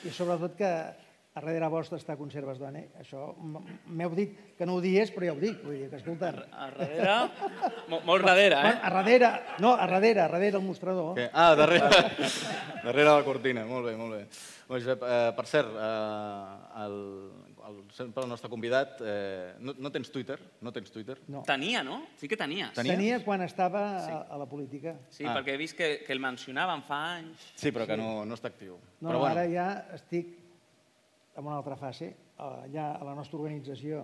I sobretot que a darrere vostre està Conserves Doner. Això m- m'heu dit que no ho dies, però ja ho dic. Vull dir que, escolta, a, A darrere, mo- molt darrere, eh? a darrere, no, a darrere, a darrere el mostrador. Què? Ah, darrere, darrere la cortina, molt bé, molt bé. Bé, Josep, eh, per cert, eh, el, el, sempre el nostre convidat, eh, no, no tens Twitter? No tens Twitter? No. Tenia, no? Sí que tenies. Tenia. Tenia quan estava a, a la política. Sí, Ah. perquè he vist que, que el mencionaven fa anys. Sí, però que no, no està actiu. No, però bueno. ara ja estic en una altra fase. Allà a la nostra organització,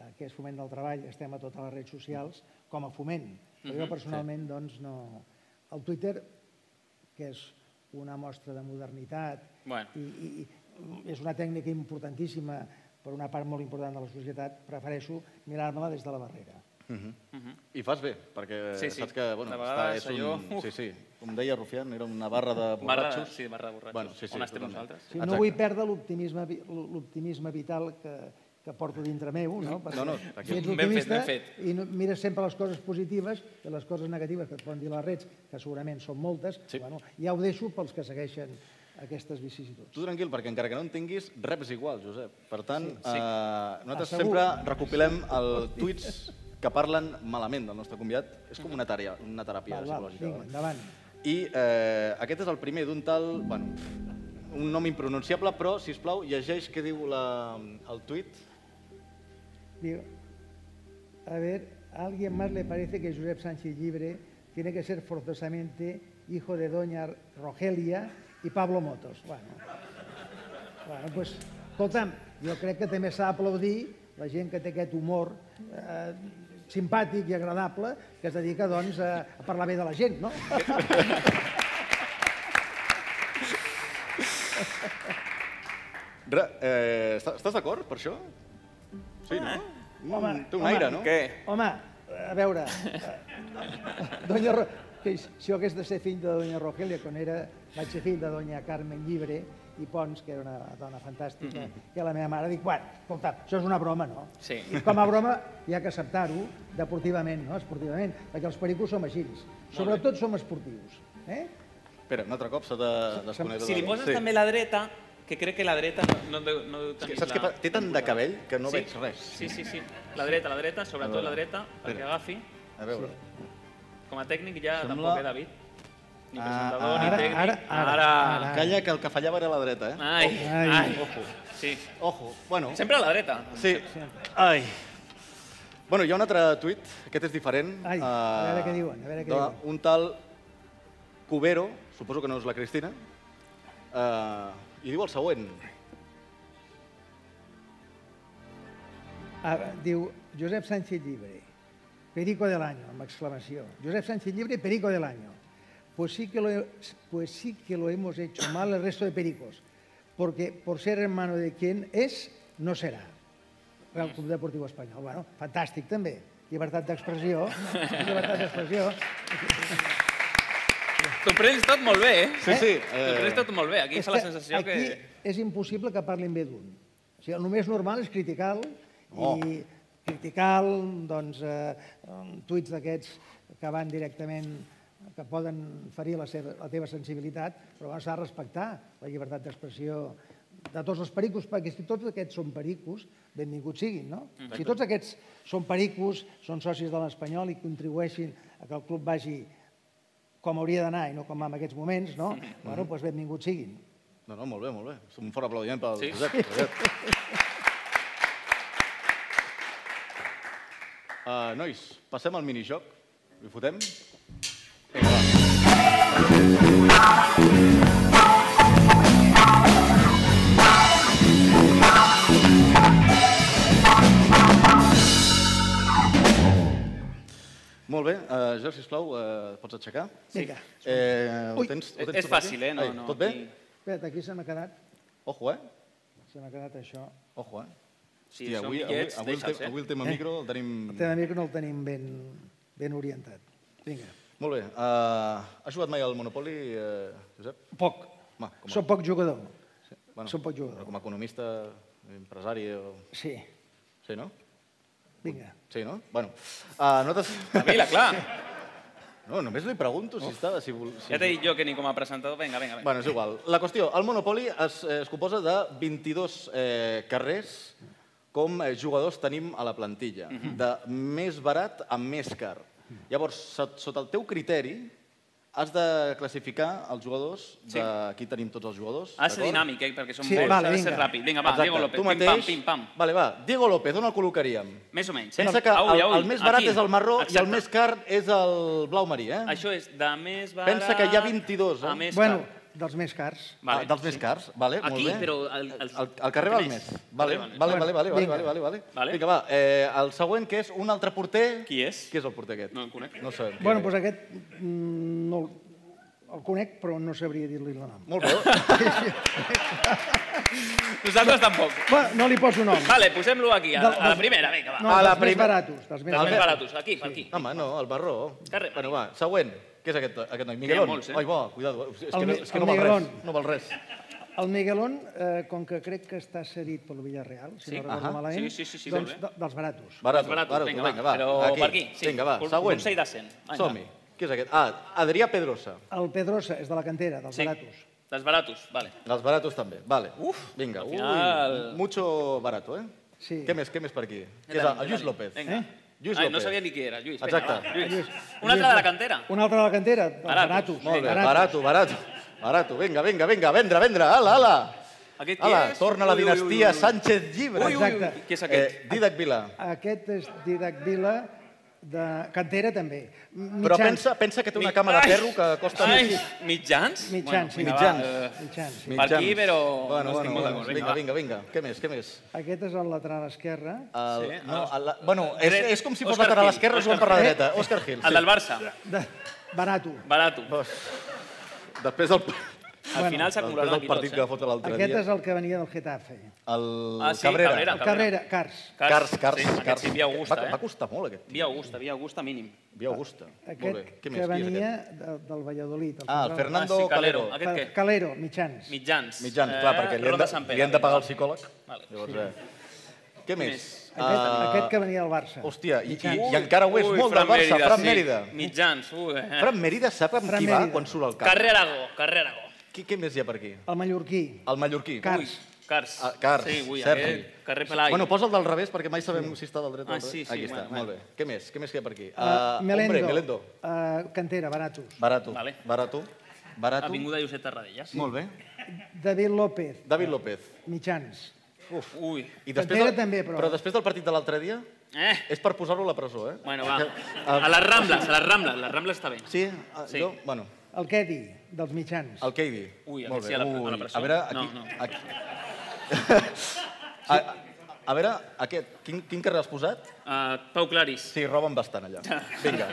eh, que és Foment del Treball, estem a totes les redes socials com a foment. Però jo personalment, doncs, no... El Twitter, que és una mostra de modernitat Bueno. i, i, i és una tècnica importantíssima per una part molt important de la societat, prefereixo mirar-me-la des de la barrera. Mhm. I fas bé, perquè Mhm. Sí, sí. saps que bueno, De està, vegades és un... allò- Sí, sí, com deia Rufián, era una barra de Barra, borratxos. sí, barra de borratxos. Bueno, sí, sí, On estem totalment. nosaltres? Sí, no Exacte. vull perdre l'optimisme vi- l'optimisme vital que, que porto dintre meu, no? no, no, si tranquil. ets Ben fet, optimista ben fet. i no, mires sempre les coses positives i les coses negatives que et poden dir les reds, que segurament són moltes, Sí. bueno, ja ho deixo pels que segueixen aquestes vicissituds. Tu tranquil, perquè encara que no en tinguis, reps igual, Josep. Per tant, sí, sí. Eh, nosaltres Ah, segur. sempre recopilem el tuits que parlen malament del nostre convidat. És com una, tària, una teràpia Val, val, psicològica. doncs. vinga, val? endavant. I eh, aquest és el primer d'un tal... Bueno, un nom impronunciable, però, si us plau, llegeix què diu la, el tuit. Digo, a ver, ¿a alguien más le parece que Josep Sánchez Libre tiene que ser forzosamente hijo de doña Rogelia y Pablo Motos? Bueno, bueno pues, escolta'm, jo crec que també s'ha d'aplaudir la gent que té aquest humor eh, simpàtic i agradable que es dedica doncs, a, a parlar bé de la gent, no? Re, eh, està- estàs d'acord per això? Sí, Ah. no? Mm, té un aire, no? Què? Home, a veure, eh, doña Ro... que si jo hagués de ser fill de doña Rogelia, quan era, vaig ser fill de doña Carmen Llibre i Pons, que era una dona fantàstica, que la meva mare dic, bueno, escolta, això és una broma, no? Sí. I com a broma hi ha que acceptar-ho deportivament, no? Esportivament, perquè els pericos som així, sobretot som esportius, eh? Espera, un altre cop s'ha de desconnectar. Si li del- poses també la dreta, que crec que la dreta no, no, deu- no deu És que tenir Saps què la- passa? Té tant de cabell que no sí? veig res. Sí, sí, sí. La dreta, la dreta, sobretot la dreta, perquè espera. agafi. A veure. Com a tècnic ja Sembla- tampoc, eh, David? Ni Ah, presentador, ara, ni tècnic. ara, ara, Ara. Ah. Calla, que el que fallava era la dreta, eh? Ai, Ai. ai. Sí. Ojo. Bueno, Sempre a la dreta. sí. Ai. Bueno, hi ha un altre tuit, aquest és diferent. Ai, a eh, veure què diuen, a veure què de diuen. Un tal Cubero, suposo que no és la Cristina, eh, i diu el següent. Ah, diu Josep Sánchez Llibre, perico del año, amb exclamació. Josep Sánchez Llibre, perico del año. Pues sí que lo, he- pues sí que lo hemos hecho mal el resto de pericos, porque por ser hermano de quien es, no será. El Club Deportiu Espanyol. Bueno, fantàstic també. Llibertat d'expressió. Llibertat d'expressió. T'ho prens tot molt bé, eh? Sí, sí. eh, T'ho prens tot molt bé. Aquí És fa la que sensació que... aquí és impossible que parlin bé d'un. O sigui, el només normal és criticar Oh. i criticar doncs, eh, em, tuits d'aquests que van directament que poden ferir la, seva, la teva sensibilitat, però bueno, s'ha de respectar la llibertat d'expressió de tots els pericos, perquè si tots aquests són pericos, benvinguts siguin, no? Mm. Si tots aquests són pericos, són socis de l'Espanyol i contribueixin a que el club vagi com hauria d'anar i no com va en aquests moments, no? Mm-hmm. Bueno, doncs benvinguts siguin. No, no, molt bé, molt bé. Un fort aplaudiment pel Sí. Josep. Josep. Uh, nois, passem al minijoc. Li fotem? Vinga, va. Molt bé, uh, Josep, sisplau, uh, pots aixecar? Vinga. Eh, ho Ui. tens, ho És- tens és tot aquí? fàcil, eh? No, Ai, no, tot bé? aquí- Espera't, aquí se m'ha quedat, Ojo, eh? se m'ha quedat això. Ojo, eh? Sí, Hòstia, són avui, avui, bitllets, avui, el deixa'ls, te, eh? avui el tema micro el tenim... El teu amic no el tenim ben, ben orientat. Vinga. Molt bé. Uh, has jugat mai al Monopoly, uh, Josep? Poc. Ma, com a, Soc poc jugador. Soc poc però jugador. com a economista, empresari... O... Sí. Sí, no? Vinga. Sí, no? Bueno, uh, nosaltres... Vila, clar. eh, No, només li pregunto si estava... Si vol, si... Ja t'he dit jo que ni com a presentador... Vinga, vinga, vinga. Bueno, és igual. La qüestió, el Monopoli es, eh, es composa de 22 eh, carrers com eh, jugadors tenim a la plantilla, de més barat a més car. Llavors, sot- sota el teu criteri, has de classificar els jugadors, Sí. de... aquí tenim tots els jugadors. Ha de ser d'acord? dinàmic, eh, perquè som Sí, molts, vale, ha de ser vinga. ràpid. Vinga, va, Exacte, Diego López, tu pim-pam, mateix. pim-pam. Vale, va, Diego López, on el col·locaríem? Més o menys, eh? Pensa que Au, el, au, el més barat aquí. és el marró i el Exacte. més car és el blau marí, eh? Això és de més barat... Pensa que hi ha 22, eh? A més Bueno, car. dels més cars. Vale, dels més cars, vale, Aquí, molt bé. però el- el- el, el carrer val el més. més. Vale, Carrer val més. vale, vale, vale, vale, vinga. vale, vale, Vale. Vinga, va, eh, el següent que és un altre porter... Qui és? Qui és el porter aquest? No el conec. No el sabem. Bueno, doncs aquest mm, no el, el conec, però no sabria dir-li el nom. Molt bé. Nosaltres tampoc. Bueno, no li poso nom. Vale, posem-lo aquí, a, Del- a la dels- primera, vinga, va. No, A la dels més primera. baratos. Dels més Dels més Albert. baratos, aquí, per aquí. Home, no, el barró. Carrer Bueno, va, següent. Què és aquest, aquest noi? ha Miguelón. molts, eh? Ai, bo, cuidado. És que, El no, Mi- és que el no val res. Miguelón. No val res. El Miguelón, eh, com que crec que està cedit pel Villarreal, si Sí, no recordo ahà. malament, Sí, sí, sí, sí, doncs molt bé. de- dels baratos. Barato, Barato, barato, vinga, va, vinga, va. però per aquí, sí. Vinga, va, Cons- següent. consell de cent. Vinga. Som-hi. Qui és aquest? Ah, Adrià Pedrosa. El Pedrosa és de la cantera, dels Sí. baratos. Dels baratos, vale. Els baratos també, vale. Uf, vinga, ui, final- mucho barato, eh? Sí. Què més, què més per aquí? Què és Dale, el, el Lluís dale. López. Eh? Vinga. Lluís Ai, López. no sabia ni qui era, Lluís. Vinga, Exacte. va, Lluís. Lluís. Un altre de la cantera. Un altre de la cantera, dels Baratos. baratos. Molt bé, baratos. barato, barato. Barato, vinga, vinga, vinga, vendre, vendre, ala, ala. Aquest qui Ala, és? torna la Ui, ui, ui, dinastia ui. Sánchez Llibre. Ui, ui, ui, Exacte. qui és aquest? Eh, Didac Vila. Aquest és Didac Vila, de cantera també. M- Però mitjans. pensa, pensa que té una Mi- cama de Ai! ferro que costa... Ai, mitjans? Mitjans, Bueno, sí. vinga, va, Mitjans. eh, Mitjans. Per aquí, però no Bueno, bueno, estic molt bueno, d'acord. Vinga, vinga, va. vinga, vinga. Què més, què més? Aquest és el lateral esquerre. El, no, el, bueno, és, Dret- és com si fos Oscar lateral Gil, esquerre, Oscar jugant per la Gil. dreta. Òscar Gil. El del Barça, De... Barato. barato. Després del, Al final després s'acumularan del aquí partit tots, que va eh? fotre l'altre Aquest dia. és el que venia del Getafe. El Ah, sí, Cabrera. Cabrera. Carrera, Cars. Cars, Cars, Sí, aquest Cars. sí, Via Augusta, va, eh? va costar molt, aquest tio. Via Augusta, Via Augusta mínim. Via Augusta. Molt bé. Aquest Què que més? Qui és venia aquest? de, del Valladolid. del Ah, el central. Fernando Ah, sí, Calero. Calero. Aquest què? Calero, mitjans. Mitjans. Mitjans, clar, perquè li Roda han de, Sant Pere, li han de pagar el vinga. psicòleg. Vale. Llavors, eh, què més? Aquest, Ah, aquest que venia del Barça. Hòstia, i, i, i encara ho és Ui, molt del Barça, Fran sí. Mérida. Mitjans, ui. eh. Fran Mérida sap amb Fran qui va Mérida. quan surt al cap. Carrer Aragó, Carrer Aragó. Qui, què més hi ha per aquí? El mallorquí. El mallorquí. Cars. Cars. Ah, Cars, Sí, ui, Sergi. aquest carrer Pelai. Bueno, posa'l del revés perquè mai sabem si està del dret o Ah, del revés. sí, sí, Aquí està, bueno, bueno. molt bé. Què més? Què més hi ha per aquí? Ah, Ah, Melendo. Hombre, Melendo. Ah, cantera, Baratos. Barato, Vale. barato, barato. Avinguda Josep Tarradellas. Molt bé. David López, David López. mitjans. Uf, ui. I Cantera també, però- però després del partit de l'altre dia, Eh? és per posar-lo a la presó, eh? Bueno, va. Ah, A les Rambles, a les Rambles. Les Rambles està bé. Sí, ah, Sí. jo, bueno, El Kedi, dels mitjans. el Keidi. Ui, aquest Molt bé. sí, a la- a la Ui, presó. A veure, aquí... No, no. aquí... a, a, a veure, aquest, quin, quin carrer has posat? Uh, Pau Claris. Sí, roben bastant allà. Vinga.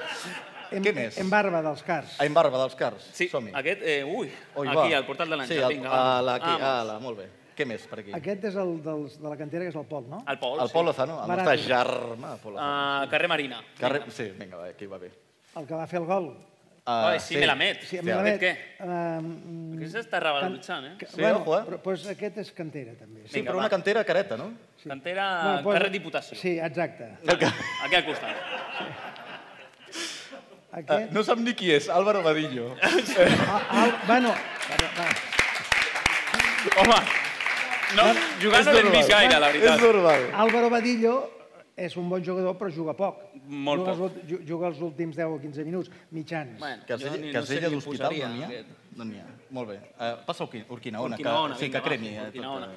En, Què més? En Barba, dels Cars. A Embarba, dels Cars. Sí, Som-hi. aquest, eh, ui, Oi, aquí, va. al portal de l'Àngel. Sí, al- Vinga, va. a la, aquí, Vamos. a la, molt bé. Què més per aquí? Aquest és el dels, de la cantera, que és el Pol, no? Al Pol, El sí. Pol Lozano, el nostre Barato. germà Pol Lozano. Ah, carrer Marina. Carrer... Sí, vinga, va, aquí va bé. El que va fer el gol. Ah, Ai, sí, me la met. Sí, Sí, amb Hòstia, la aquest Bet. què? Ehm, Aquest s'està revaloritzant, eh? Sí, ojo, eh? però, doncs aquest és cantera, també. Sí, Vinga, però va. una cantera careta, no? Cantera, Bueno, posa- carrer Diputació. Sí, exacte. Aquí al costat. Ah, Aquest... no sap ni qui és, Álvaro Vadillo. Eh, Ah, al, bueno, Home, no, jugant no l'hem vist gaire, la És veritat. normal. Álvaro Badillo és un bon jugador, però juga poc. Molt juga Els, ju- juga els últims 10 o 15 minuts, mitjans. Bueno, Casella, jo ni- no sé Casella qui d'Hospital posaria, eh? no n'hi ha? aquest. No n'hi ha. Molt bé. Uh, passa Urqui- Urquinaona, Urquinaona, que, sí, vinga, que cremi. va, Eh, Urquinaona.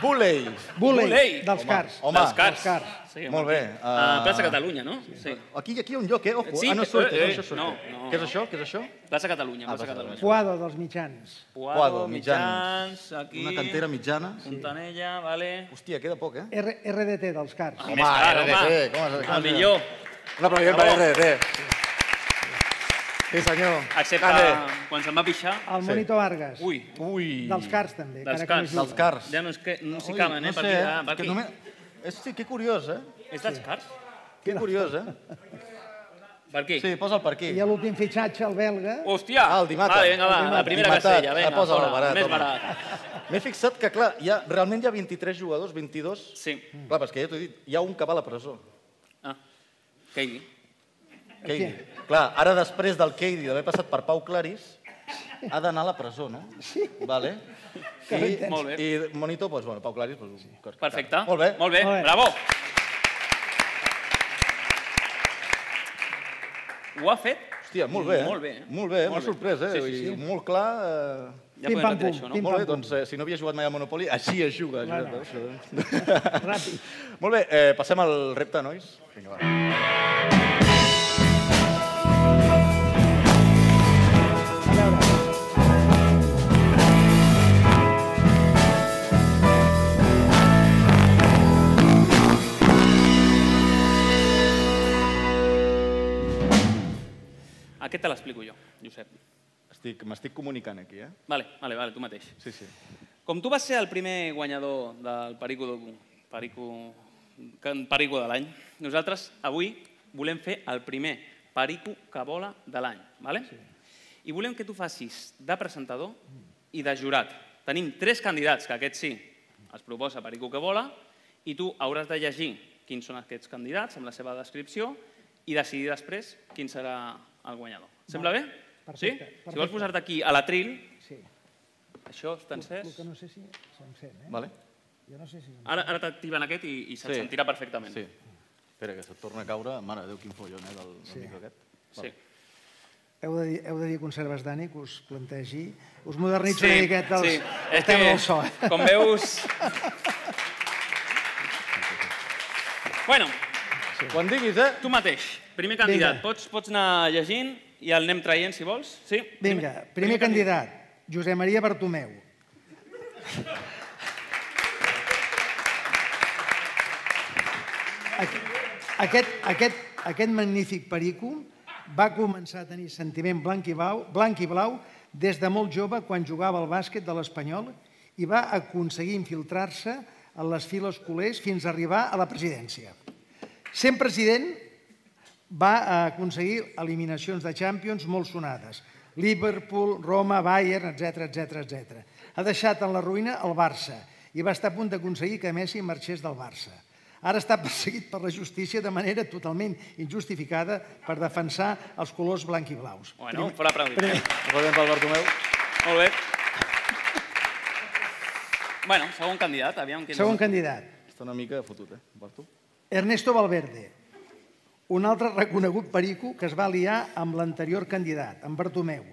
Bulei. Bulei, Bulei. dels Cars. home. dels Cars. dels Cars. Sí, home. Molt bé. Ah, eh, Plaça Catalunya, no? Sí. Aquí, aquí hi ha un lloc, eh? Ojo, Sí, ah, no eh, és suerte, eh, no, això és suerte. no, no, Què és no. això? Què és això? Plaça Catalunya, Ah, Plaça Plaça Catalunya. Puado, dels mitjans. Puado, mitjans, aquí... Una cantera mitjana. Fontanella, vale. Hòstia, queda poc, eh? R RDT, dels Cars. Més car, home. com es, com El es- millor. Un aplaudiment per Bravo. RDT. Sí, senyor. Excepte Grande. quan se'n va pixar. El Monito Vargas. Ui, Ui. Dels Cars, també. Dels encara que no Cars. juga. Dels cars. ja no, és que, no s'hi Ui, caben, eh? no Per sé, aquí, ah, per és que aquí. només- És, sí, que curiós, eh? És dels Cars? Que curiós, eh? Per aquí? Sí, posa'l per aquí. I l'últim fitxatge, el belga. Hòstia! Ah, el Dimata. Vale, vinga, va, El la primera Dimata. casella, Ah, vinga, posa-la fora, barat, més home. barat. M'he fixat que, clar, hi ha, realment hi ha 23 jugadors, 22. Sí. Clar, però és que ja t'ho he dit, hi ha un que va a la presó. Ah, caigui. Keidi. Clar, ara després del Keidi d'haver passat per Pau Claris, ha d'anar a la presó, no? Sí. Vale. I, Molt bé. I Monito, doncs, bueno, Pau Claris... Doncs, sí. Perfecte. Molt bé. Molt bé, Molt bé. bravo. Ho ha fet? Hòstia, molt bé, eh? Molt bé. eh? Molt bé, m'ha Molt bé. sorprès, Sí, eh? sí, sí. Vull dir, Molt clar... Eh... Ja podem Pim, pam, retre pum. això, Pim, no? molt bé, pam, doncs, eh, si no havia jugat mai a Monopoly, així es juga. Clar, Josep, no. això. Ràpid. molt bé, eh, passem al repte, nois. Vinga, va. A veure, Aquest te l'explico jo, Josep. Estic- M'estic comunicant aquí, eh? Vale, vale, vale, tu mateix. Sí, sí. Com tu vas ser el primer guanyador del Perico, de, Perico, Can- Perico de l'any, nosaltres avui volem fer el primer Perico que vola de l'any. Vale? I volem que tu facis de presentador i de jurat. Tenim tres candidats, que aquest sí, es proposa Perico que vola, i tu hauràs de llegir quins són aquests candidats amb la seva descripció i decidir després quin serà el guanyador. Sembla bé? Perfecte, sí? Si vols perfecte. posar-te aquí a l'atril, sí. això està El encès. que no sé si se'n sent, eh? Vale? Jo no sé si se'n Ara, ara t'activen aquest i, i se't Sí. sentirà perfectament. Sí. Espera, que se't torna a caure. Mare de Déu, quin follon, eh, del, del micro aquest. sí. Heu de, dir, heu de dir conserves Dani que us plantegi, us modernitzo Sí, una miqueta els, sí. el És tema que, del so. eh? Com veus... bueno, Quan diguis, eh? tu mateix, primer candidat. Pots, pots anar llegint i el anem traient, si vols. Sí? Vinga, primer, candidat, Josep Maria Bartomeu. Aqu- Aquest, aquest, aquest magnífic perico va començar a tenir sentiment blanc i, blau, blanc i blau des de molt jove quan jugava al bàsquet de l'Espanyol i va aconseguir infiltrar-se en les files culers fins a arribar a la presidència. Sent president, va aconseguir eliminacions de Champions molt sonades. Liverpool, Roma, Bayern, etc etc etc. Ha deixat en la ruïna el Barça i va estar a punt d'aconseguir que Messi marxés del Barça. Ara està perseguit per la justícia de manera totalment injustificada per defensar els colors blanc i blaus. Bueno, fora aplaudit. eh? Aplaudim pel Bartomeu. Molt bé. Bueno, segon candidat, aviam quin... Segon candidat, Està una mica fotut, eh, Bartu? Ernesto Valverde, un altre reconegut perico que es va aliar amb l'anterior candidat, en Bartomeu,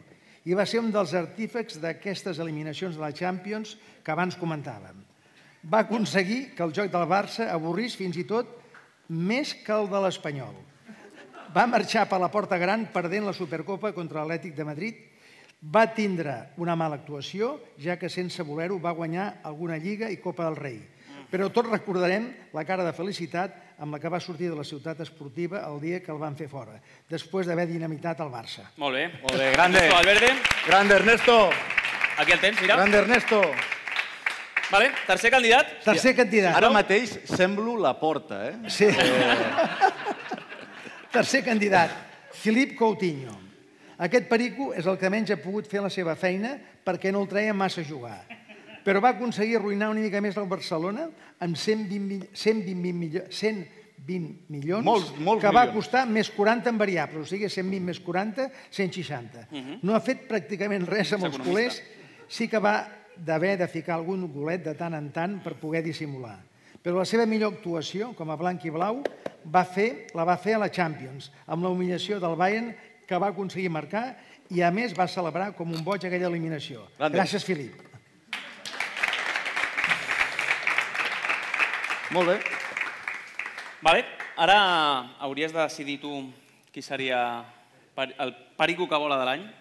i va ser un dels artífecs d'aquestes eliminacions de la Champions que abans comentàvem. Va aconseguir que el joc del Barça avorrís fins i tot més que el de l'Espanyol. Va marxar per la porta gran perdent la Supercopa contra l'Atlètic de Madrid. Va tindre una mala actuació, ja que sense voler-ho va guanyar alguna Lliga i Copa del Rei. Però tots recordarem la cara de felicitat amb la que va sortir de la ciutat esportiva el dia que el van fer fora, després d'haver dinamitat el Barça. Molt bé. Molt bé, grande. Ernesto Valverde, Grande Ernesto! aquí el tens, mira. Grande Ernesto! Vale, tercer candidat. Tercer candidat. Ara mateix semblo la porta, eh? Sí. Tercer candidat, Filip Coutinho. Aquest perico és el que menys ha pogut fer la seva feina perquè no el treia massa a jugar. Però va aconseguir arruïnar una mica més el Barcelona amb 120, mi- 120, millo, 120 milions Molts- molts que va milions. costar més 40 en variables, o sigui, 120 més 40, 160. Mhm. No ha fet pràcticament res amb els culers, sí que va d'haver de ficar algun golet de tant en tant per poder dissimular. Però la seva millor actuació, com a blanc i blau, va fer, la va fer a la Champions, amb la humiliació del Bayern que va aconseguir marcar i, a més, va celebrar com un boig aquella eliminació. Grande. Gràcies, Filip. Molt bé. Vale, ara hauries de decidir tu qui seria per- el perico que vola de l'any.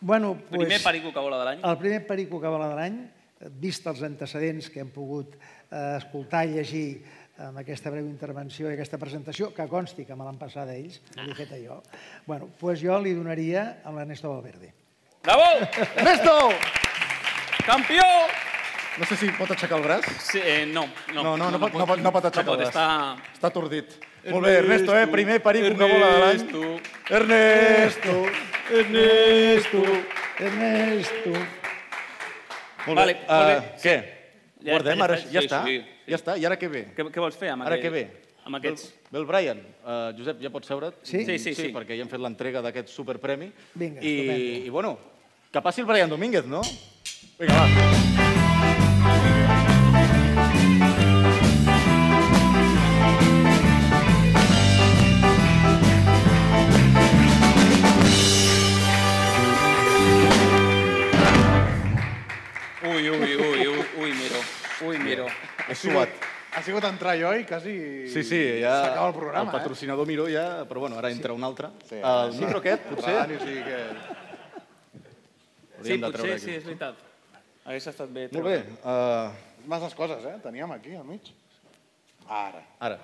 Bueno, Primer pues, perico que vola de l'any. El primer perico que vola de l'any, eh, vist els antecedents que hem pogut eh, escoltar i llegir amb aquesta breu intervenció i aquesta presentació, que consti que me l'han passada ells, no l'he feta jo, bueno, doncs jo li donaria a l'Ernesto Valverde. Bravo! Ernesto! Campió! No sé si pot aixecar el braç. Sí, eh, no, no, No, no, no, pot, no, pot, no pot aixecar no el pot braç. estar... Està atordit. Molt bé, Ernesto, eh? Primer perico que vola de l'any. Ernesto. Ernesto! Ernesto! Ernesto, Molt Vale, bé. molt bé. Eh, què? Ja Guardem, està, ara ja ja està, està. sí, sí. Ja està, i ara què ve? Què, què vols fer amb Ara aquest? què ve? amb aquests. Bill Bryan, eh, Josep, ja pots seure't? Sí? Sí, sí, sí. perquè ja hem fet l'entrega d'aquest superpremi. Vinga, I, estupendo. I, bueno, que passi el Bryan Domínguez, no? Vinga, va. Ui, ui, ui, ui, ui, miro. Ui, miro. He suat. Ha sigut entrar jo i quasi... Sí, sí, ja... S'acaba el programa, eh? El patrocinador Miró ja, però bueno, ara entra un altre. Sí, el micro aquest, eh? potser, Va, ni sigui que... Sí, l'hauríem de treure potser, aquí. sí, és veritat. Hauria estat bé. Molt bé, eh, Masses coses, eh? Teníem aquí, al mig. Ara. ara.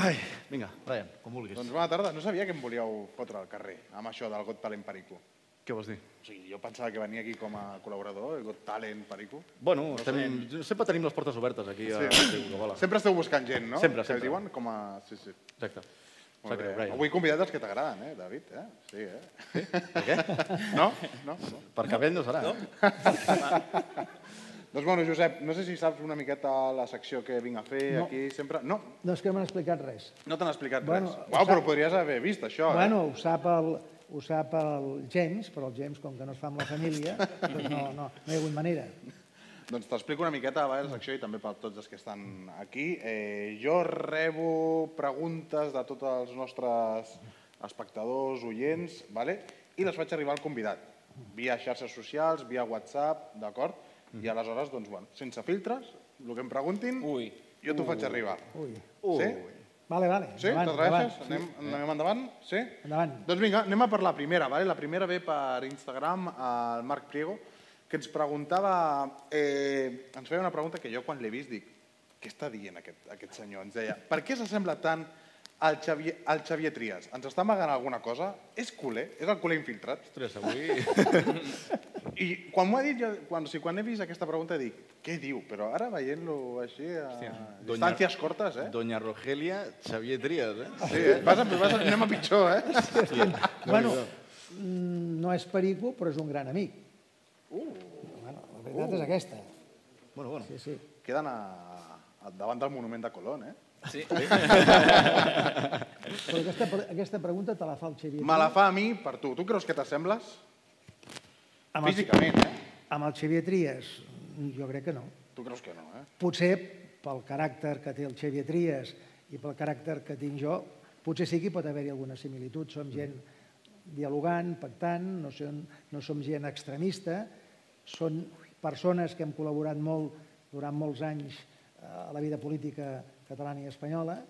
Ai, vinga, Brian, com vulguis. Doncs bona tarda. No sabia que em volíeu fotre al carrer amb això del Got Talent Perico. Què vols dir? O sigui, jo pensava que venia aquí com a col·laborador, el Got Talent Perico. Bueno, estem, sempre tenim les portes obertes aquí a Bola. Sempre esteu buscant gent, no? eh, Sempre, Que sempre. es diuen com a... Sí, sí. Exacte. Molt Sap greu, bé. Brian. Avui convidat els que t'agraden, eh, David? Eh? Sí, eh? Per què? No? No? no. Per cabell no serà. eh? No? Doncs bueno, Josep, no sé si saps una miqueta la secció que vinc a fer No. aquí sempre. No, No és que m'han explicat res. no t'han explicat Bueno, res. ho Uau, sap- però ho podries haver vist, això. eh? Bueno, ho sap el, ho sap el James, però el James, com que no es fa amb la família, doncs no, no, no hi ha hagut manera. Eh? Doncs t'explico una miqueta va, la secció i també per tots els que estan aquí. Eh, jo rebo preguntes de tots els nostres espectadors, oients, vale? i les faig arribar al convidat, via xarxes socials, via WhatsApp, d'acord? I aleshores, doncs, bueno, sense filtres, el que em preguntin, Ui. jo t'ho faig arribar. Ui. Sí? Vale, vale. Sí, t'agraeixes? Anem, anem endavant? Sí? Endavant. Doncs vinga, anem a per la primera. Vale? La primera ve per Instagram, el Marc Priego, que ens preguntava... Eh, ens feia una pregunta que jo quan l'he vist dic què està dient aquest, aquest senyor? Ens deia, per què s'assembla tant al Xavier, al Xavier Trias? Ens està amagant alguna cosa? És culer? És el culer infiltrat? Ostres, avui... I quan m'ho ha dit, jo, quan, o sigui, quan he vist aquesta pregunta dic, què diu? Però ara veient-lo així, eh, a Doña- distàncies cortes, eh? Doña Rogelia Xavier Trias, eh? Sí, eh? Vas, a, vas a, anem a pitjor, eh? Bueno, mm, no és perico, però és un gran amic. Uh. Bueno, la veritat és aquesta. Bueno, bueno. Sí, sí. queden a, a, davant del monument de Colón, eh? Sí. Però aquesta, pre- aquesta pregunta te la fa el Xavier. Me la fa a mi per tu. Tu creus que t'assembles? Amb el, Físicament, eh? amb el Xavier Trias, jo crec que no. Tu creus que no, eh? Potser pel caràcter que té el Xavier Trias i pel caràcter que tinc jo, potser sí que hi pot haver-hi alguna similitud. Mm. Som gent dialogant, pactant, no som, no som gent extremista, són persones que hem col·laborat molt durant molts anys eh, a la vida política catalana i espanyola,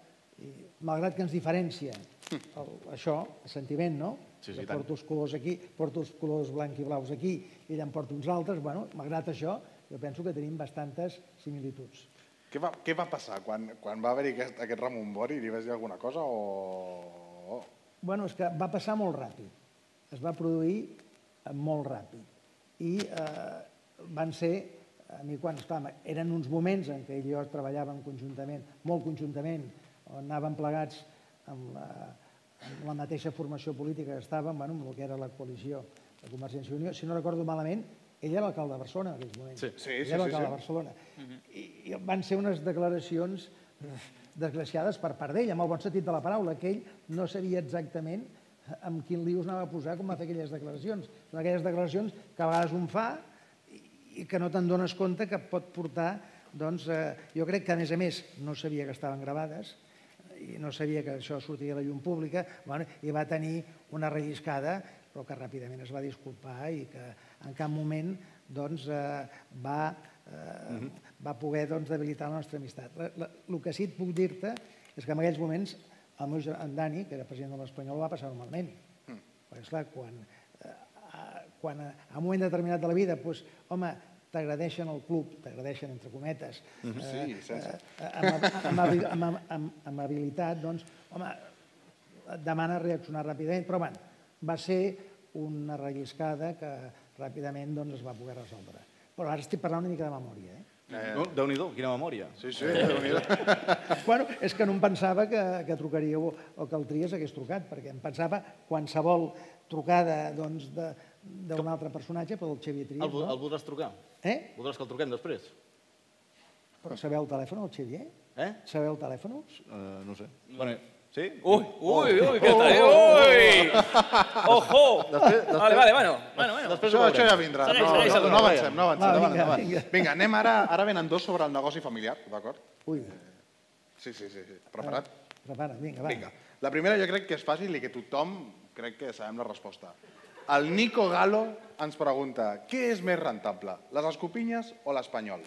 i malgrat que ens diferencia el, això, el sentiment, no? Mm. Sí, sí, Jo i tant. porto els colors aquí, porto els colors blanc i blaus aquí, i ella en porta uns altres, bueno, malgrat això, jo penso que tenim bastantes similituds. Què va, què va passar quan, quan va haver-hi aquest, aquest remombori? Li vas dir alguna cosa o... Bueno, és que va passar molt ràpid. Es va produir eh, molt ràpid. I eh, van ser, a mi quan, esclar, eren uns moments en què ell i jo treballàvem conjuntament, molt conjuntament, on anàvem plegats amb la, amb la mateixa formació política que estàvem, bueno, amb el que era la coalició de Convergència i Unió. Si no recordo malament, ell era l'alcalde de Barcelona en aquells moments. Sí. Sí, Ell era sí, sí, Mhm. l'alcalde sí. de Barcelona. I, I van ser unes declaracions desgraciades per part d'ell, amb el bon sentit de la paraula, que ell no sabia exactament amb quin lius anava a posar com va fer aquelles declaracions. Són aquelles declaracions que a vegades un fa i- i que no te'n dones compte que pot portar, doncs, eh, jo crec que a més a més no sabia que estaven gravades i no sabia que això sortia a la llum pública, bueno, i va tenir una relliscada, però que ràpidament es va disculpar i que en cap moment doncs, eh, va, eh, va poder doncs, debilitar la nostra amistat. La, la, el que sí que puc dir-te és que en aquells moments el meu germà, en Dani, que era president de l'Espanyol, ho va passar normalment. Perquè, esclar, quan, eh, a- quan a, a un moment determinat de la vida, doncs, home, t'agradeixen el club, t'agradeixen entre cometes, Sí, sense... eh, amb, amb, habi- amb, amb, amb, amb habilitat, doncs, home, et demana reaccionar ràpidament, però bueno, va ser una relliscada que ràpidament doncs, es va poder resoldre. Però ara estic parlant una mica de memòria. Eh? No, Déu-n'hi-do, quina memòria. Sí, sí, Déu-n'hi-do. Bueno, és que no em pensava que, que trucaríeu o que el Trias hagués trucat, perquè em pensava qualsevol trucada doncs, de- d'un altre personatge, però el Xavier Trias, El, vo- el no? voldràs trucar? Eh? Voldràs que el truquem després? Però sabeu el telèfon, el Xavier? Eh? Sabeu el telèfon? Eh, no ho sé. Bueno, sí? Oh. Uy, uy, uy, qué tal, eh? uy. Ojo. Vale, vale, bueno. Bueno, bueno. Després ho Això, veurem. això ja vindrà. Segueix, No, segueix, no, segueix. no avancem, no avancem. Va, no avancem, vinga, no avancem. vinga. vinga, anem ara, ara venen dos sobre el negoci familiar, d'acord? Ui, Sí, sí, sí, sí. Preparat? prepara, vinga, va. Vinga. La primera jo crec que és fàcil i que tothom crec que sabem la resposta. El Nico Galo ens pregunta què és més rentable, les escopinyes o l'espanyol?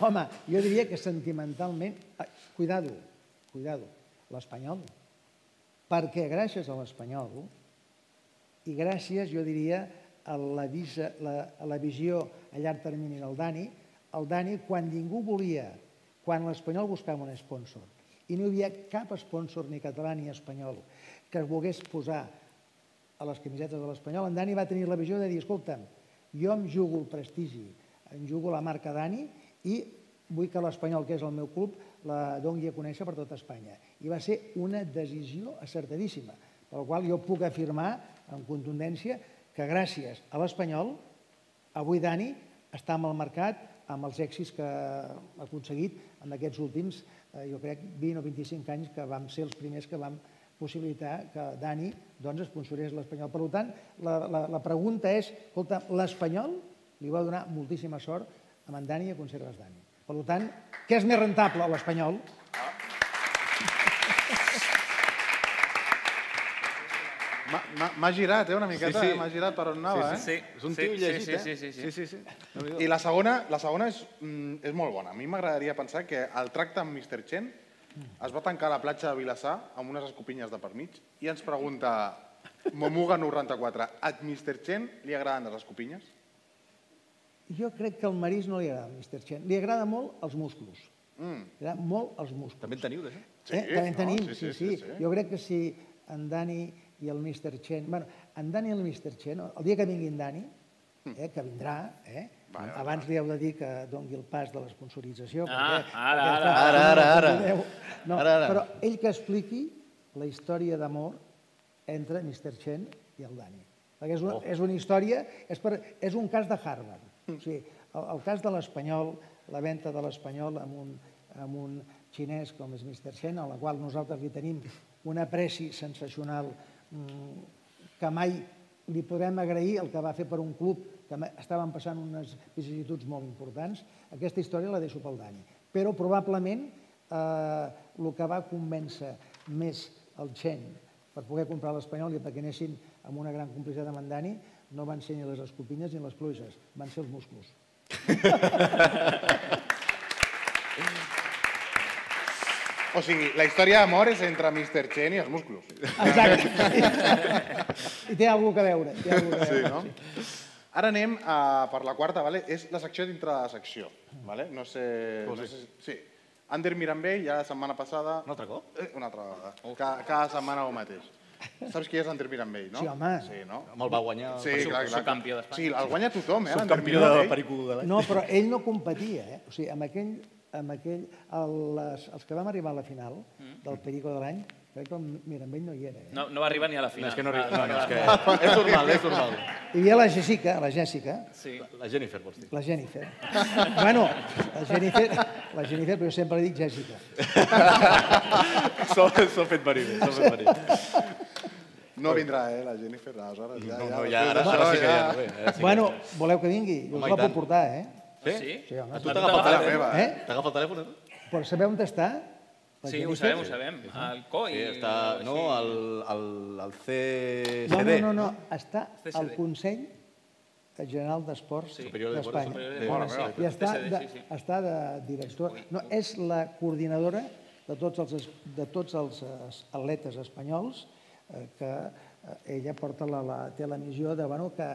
Home, jo diria que sentimentalment... Ai, Cuidado, cuidado, l'espanyol. Perquè gràcies a l'espanyol i gràcies, jo diria, a la, visa, la, a la visió a llarg termini del Dani, el Dani, quan ningú volia, quan l'espanyol buscava un sponsor, i no hi havia cap sponsor ni català ni espanyol que es volgués posar a les camisetes de l'Espanyol, en Dani va tenir la visió de dir, escolta'm, jo em jugo el prestigi, em jugo la marca Dani i vull que l'Espanyol, que és el meu club, la dongui a conèixer per tota Espanya. I va ser una decisió acertadíssima, per la qual jo puc afirmar amb contundència que gràcies a l'Espanyol, avui Dani està amb el mercat, amb els èxits que ha aconseguit en aquests últims, eh, jo crec, 20 o 25 anys que vam ser els primers que vam possibilitar que Dani doncs, esponsorés l'Espanyol. Per tant, la, la, la pregunta és, escolta, l'Espanyol li va donar moltíssima sort a en Dani i a Conserves Dani. Per tant, què és més rentable, l'Espanyol? M'ha- M'ha m'ha girat, eh, una Sí, miqueta, sí, sí. sí. m'ha girat per on anava, eh? Sí, És un sí, tio sí, llegit, sí, eh? sí, sí, sí. sí, sí. Déu-n'hi-do. I la segona, la segona és, mm, és molt bona. A mi m'agradaria pensar que el tracte amb Mr. Chen es va tancar a la platja de Vilassar amb unes escopinyes de per mig i ens pregunta Momuga94, a Mr. Chen li agraden les escopinyes? Jo crec que al Marís no li agrada, Mr. Chen. Li agrada molt els músculos. Mm. Li agrada molt els músculos. També en teniu, d'això? Sí, eh? També en no? tenim, sí sí, sí, Jo crec que si en Dani i el Mr. Chen... bueno, en Dani i el Mr. Chen, el dia que vinguin Dani, eh, que vindrà, eh, abans li heu de dir que dongui el pas de l'esponsorització. Ah, perquè- ara, perquè, ara, clar, ara, no ara, ho entendeu. No, Ara, ara. Però ell que expliqui la història d'amor entre Mr. Chen i el Dani. Perquè és una, és una història, és, per, és un cas de Harvard. O sigui, el, el cas de l'Espanyol, la venda de l'Espanyol amb un, amb un xinès com és Mr. Chen, a la qual nosaltres li tenim un apreci sensacional mm, que mai li podrem agrair el que va fer per un club que ma- estaven passant unes vicissituds molt importants. Aquesta història la deixo pel Dani. Però probablement eh, el que va convèncer més el Chen per poder comprar l'Espanyol i perquè anessin amb una gran complicitat amb en Dani no van ser ni les escopinyes ni les pluges, van ser els músculs. O sigui, la història d'amor és entre Mr. Chen i els músculos. Exacte. I té alguna cosa a veure. Té alguna cosa a Sí, veure. no? Ara anem a, per la quarta, vale? és la secció dintre de la secció. Vale? No sé... No sé si- sí. Ander Mirambell, ja la setmana passada... Oh, Un altre cop? Eh, una altra vegada. Cada, cada setmana el mateix. Saps qui és Ander Mirambell, no? Sí, home. Sí, no? Me'l va guanyar. Sí, Sub- clar, clar. subcampió d'Espanya. Sí, el guanya tothom, eh? El l'Ander campió de Mirambell. Pericú de l'any. No, però ell no competia, eh? O sigui, amb aquell, amb aquell el, les, els que vam arribar a la final del Perico de l'any, crec que el Mirambell no hi era. Eh? Mm. No, no va arribar ni a la No, final. és que no, Ah, ri- no, no, és que... És normal, és normal. Hi havia la Jessica, la Jessica, Sí. La Jennifer, vols dir. la Jennifer. bueno, la Jennifer, la Jennifer, però jo sempre li dic Jessica. S'ho s'ho fet venir bé, s'ho fet venir bé. No vindrà, eh, la Jennifer, aleshores. Ja, No, ja, no, ja, després ara, d'això, ara sí que ja no ve. ara sí que- Bueno, voleu que vingui? Jo Home, us i la tant. puc portar, eh? Sí? Sí? Sí, home. A tu A tu t'agafa el t'agafa la telèfon. meva, Tota eh? T'agafa el telèfon, eh? Però sabeu on està? La Sí, ho Jennifer? sabem, ho sabem. El coi. Sí, està... No, el, el, el No, CCD. no, no, no, està CCD. al Consell General d'Esports Superior de Deportes, d'Espanya. superior de Mare Deportes, meva. I està TCD, de, sí, sí. està de director. No, és la coordinadora de tots els, es- de tots els es- atletes espanyols eh, que eh, ella porta la, la, té la missió de bueno, que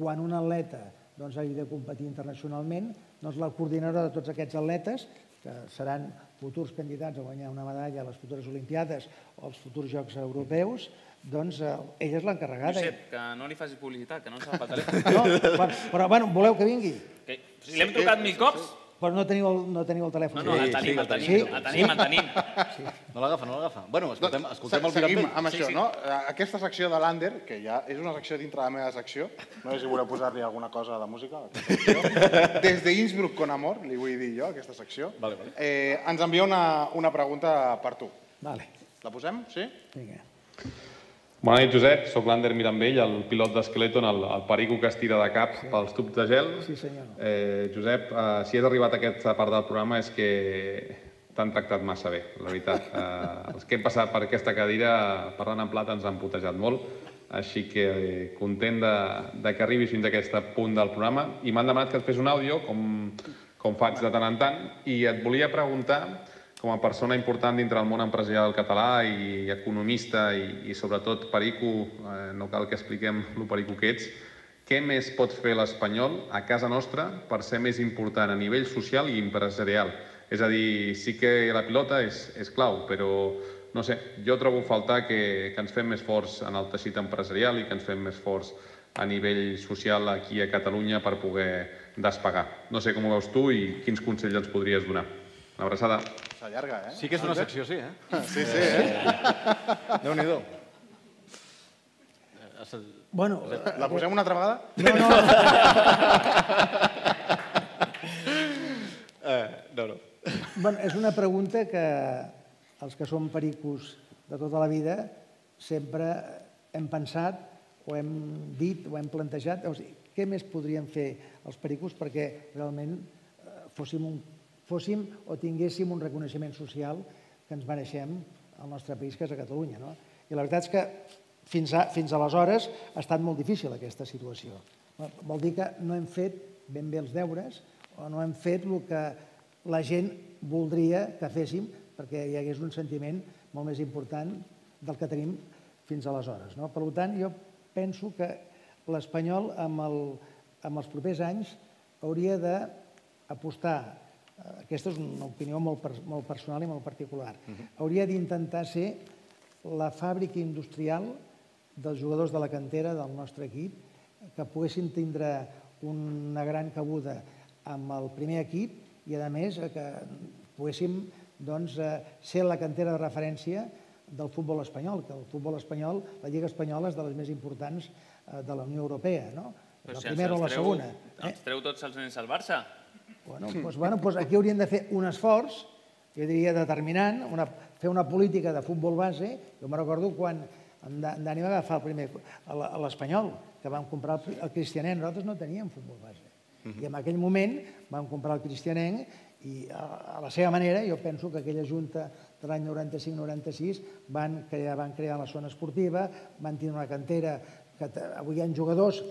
quan un atleta doncs, hagi de competir internacionalment, doncs la coordinadora de tots aquests atletes, que seran futurs candidats a guanyar una medalla a les futures Olimpiades o als futurs Jocs Europeus, doncs eh, ella és l'encarregada. Josep, que no li facis eh? publicitat, que no ens agafa el telèfon. No, però, però bueno, voleu que vingui? Que, si l'hem trucat mil cops, Però no teniu el, no teniu el telèfon. No, no, el Sí, sí, tenim, el el tenim, tenim. el tenim, el tenim. No l'agafa, no l'agafa. Bueno, escoltem, escoltem el Seguim Virapell. amb Sí, això, sí. no? Eh, Aquesta secció de l'Ander, que ja és una secció dintre la meva secció, no sé si voleu posar-li alguna cosa de música. a aquesta secció. Des de Innsbruck con amor, li vull dir jo, aquesta secció, Vale, vale. Eh, ens envia una, una pregunta per tu. Vale, La posem? Sí? vinga. Bona nit, Josep. Soc l'Ander Mirambell, el pilot d'Skeleton, el, el perico que es tira de cap pels tubs de gel. Sí, senyor. Eh, Josep, eh, si has arribat a aquesta part del programa és que t'han tractat massa bé, la veritat. Eh, els que hem passat per aquesta cadira, parlant en plat, ens han putejat molt. Així que eh, content de, de que arribis fins a aquest punt del programa. I m'han demanat que et fes un àudio, com, com faig de tant en tant, i et volia preguntar com a persona important dintre del món empresarial català i economista i, i sobretot perico, eh, no cal que expliquem lo perico que ets, què més pot fer l'espanyol a casa nostra per ser més important a nivell social i empresarial? És a dir, sí que la pilota és, és clau, però no sé, jo trobo a faltar que, que ens fem més forts en el teixit empresarial i que ens fem més forts a nivell social aquí a Catalunya per poder despegar. No sé com ho veus tu i quins consells ens podries donar. Una abraçada. S'allarga, eh? Sí que és una secció, sí, eh? Sí, sí, eh? Déu-n'hi-do. Bueno, La posem una altra vegada? no, no, Eh, no, no. bueno, és una pregunta que els que som pericos de tota la vida sempre hem pensat o hem dit o hem plantejat, o sigui, què més podríem fer els pericos perquè realment eh, fóssim, un, fóssim o tinguéssim un reconeixement social que ens mereixem al nostre país, que és a Catalunya. No? I la veritat és que fins, a, fins aleshores ha estat molt difícil aquesta situació. Vol dir que no hem fet ben bé els deures o no hem fet el que la gent voldria que féssim perquè hi hagués un sentiment molt més important del que tenim fins aleshores. No? Per tant, jo penso que l'espanyol amb, el, amb els propers anys hauria d'apostar, eh, aquesta és una opinió molt, per, molt personal i molt particular, hauria d'intentar ser la fàbrica industrial dels jugadors de la cantera del nostre equip que poguessin tindre una gran cabuda amb el primer equip i, a més, eh, que poguéssim doncs, eh, ser la cantera de referència del futbol espanyol, que el futbol espanyol, la Lliga Espanyola, és de les més importants eh, de la Unió Europea, no? Però La si ens primera o els la doncs treu- segona. eh? Els treu tots els nens al Barça. Bueno, Hmm. doncs, bueno, doncs aquí haurien de fer un esforç, jo diria determinant, una, fer una política de futbol base. Jo me recordo quan en Da- en Dani va agafar el primer, a la- a l'Espanyol, que vam comprar el, el Cristianenc. Nosaltres no teníem futbol base. I en aquell moment vam comprar el Cristianenc i a, a la seva manera, jo penso que aquella junta de l'any 95-96 van crear, van crear la zona esportiva, van tenir una cantera que te- avui hi ha jugadors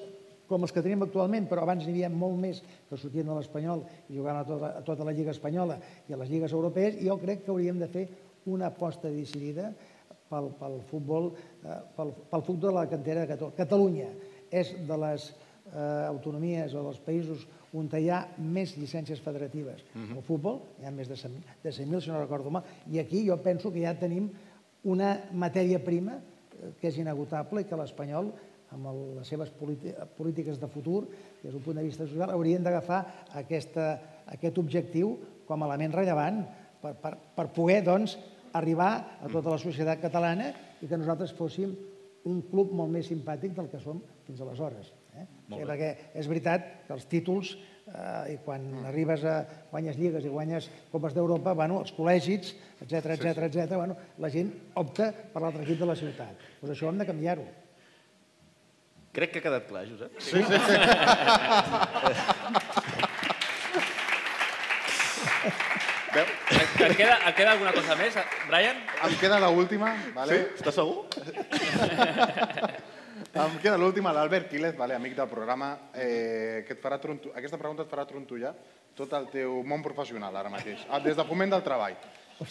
com els que tenim actualment, però abans n'hi havia molt més que sortien de l'Espanyol i jugaven a tota, a tota la Lliga Espanyola i a les Lligues Europees, i jo crec que hauríem de fer una aposta decidida pel, pel futbol, eh, pel, pel futbol de la cantera de Catalunya. Catalunya és de les eh, autonomies o dels països on hi ha més llicències federatives. Mm -hmm. El futbol hi ha més de 100.000, de 100.000, si no recordo mal, i aquí jo penso que ja tenim una matèria prima eh, que és inagotable i que l'espanyol amb el, les seves politi- polítiques de futur, des d'un punt de vista social, haurien d'agafar aquesta, aquest objectiu com a element rellevant per, per, per poder doncs, arribar a tota la societat catalana i que nosaltres fóssim un club molt més simpàtic del que som fins aleshores. Eh? O sigui, perquè és veritat que els títols, eh, i quan arribes a guanyes lligues i guanyes Copes d'Europa, bueno, els col·legis, etc etc etc, bueno, la gent opta per l'altre equip de la ciutat. Doncs això hem de canviar-ho. Crec que ha quedat clar, Josep. Veu? Et queda, et queda alguna cosa més, Brian? Em queda l'última, vale? Estàs segur? Em queda l'última, l'Albert Quiles, vale, amic del programa, eh, que et farà tronto... aquesta pregunta et farà trontollar tot el teu món professional ara mateix, Ah, des de Foment del Treball.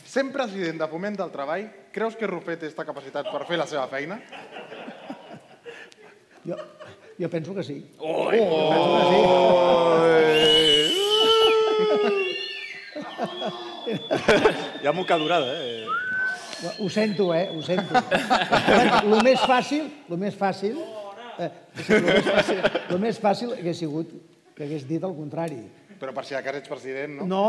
Sent president de Foment del Treball, creus que Rufet té esta capacitat per fer la seva feina? Jo, jo penso que sí. Oh! Hi ha moca durada, eh? Ho sento, eh? Ho sento. bueno, el més fàcil, el més fàcil, eh, el més fàcil, el més fàcil hagués sigut que hagués dit el contrari. Però per si de cas ets president, no? No.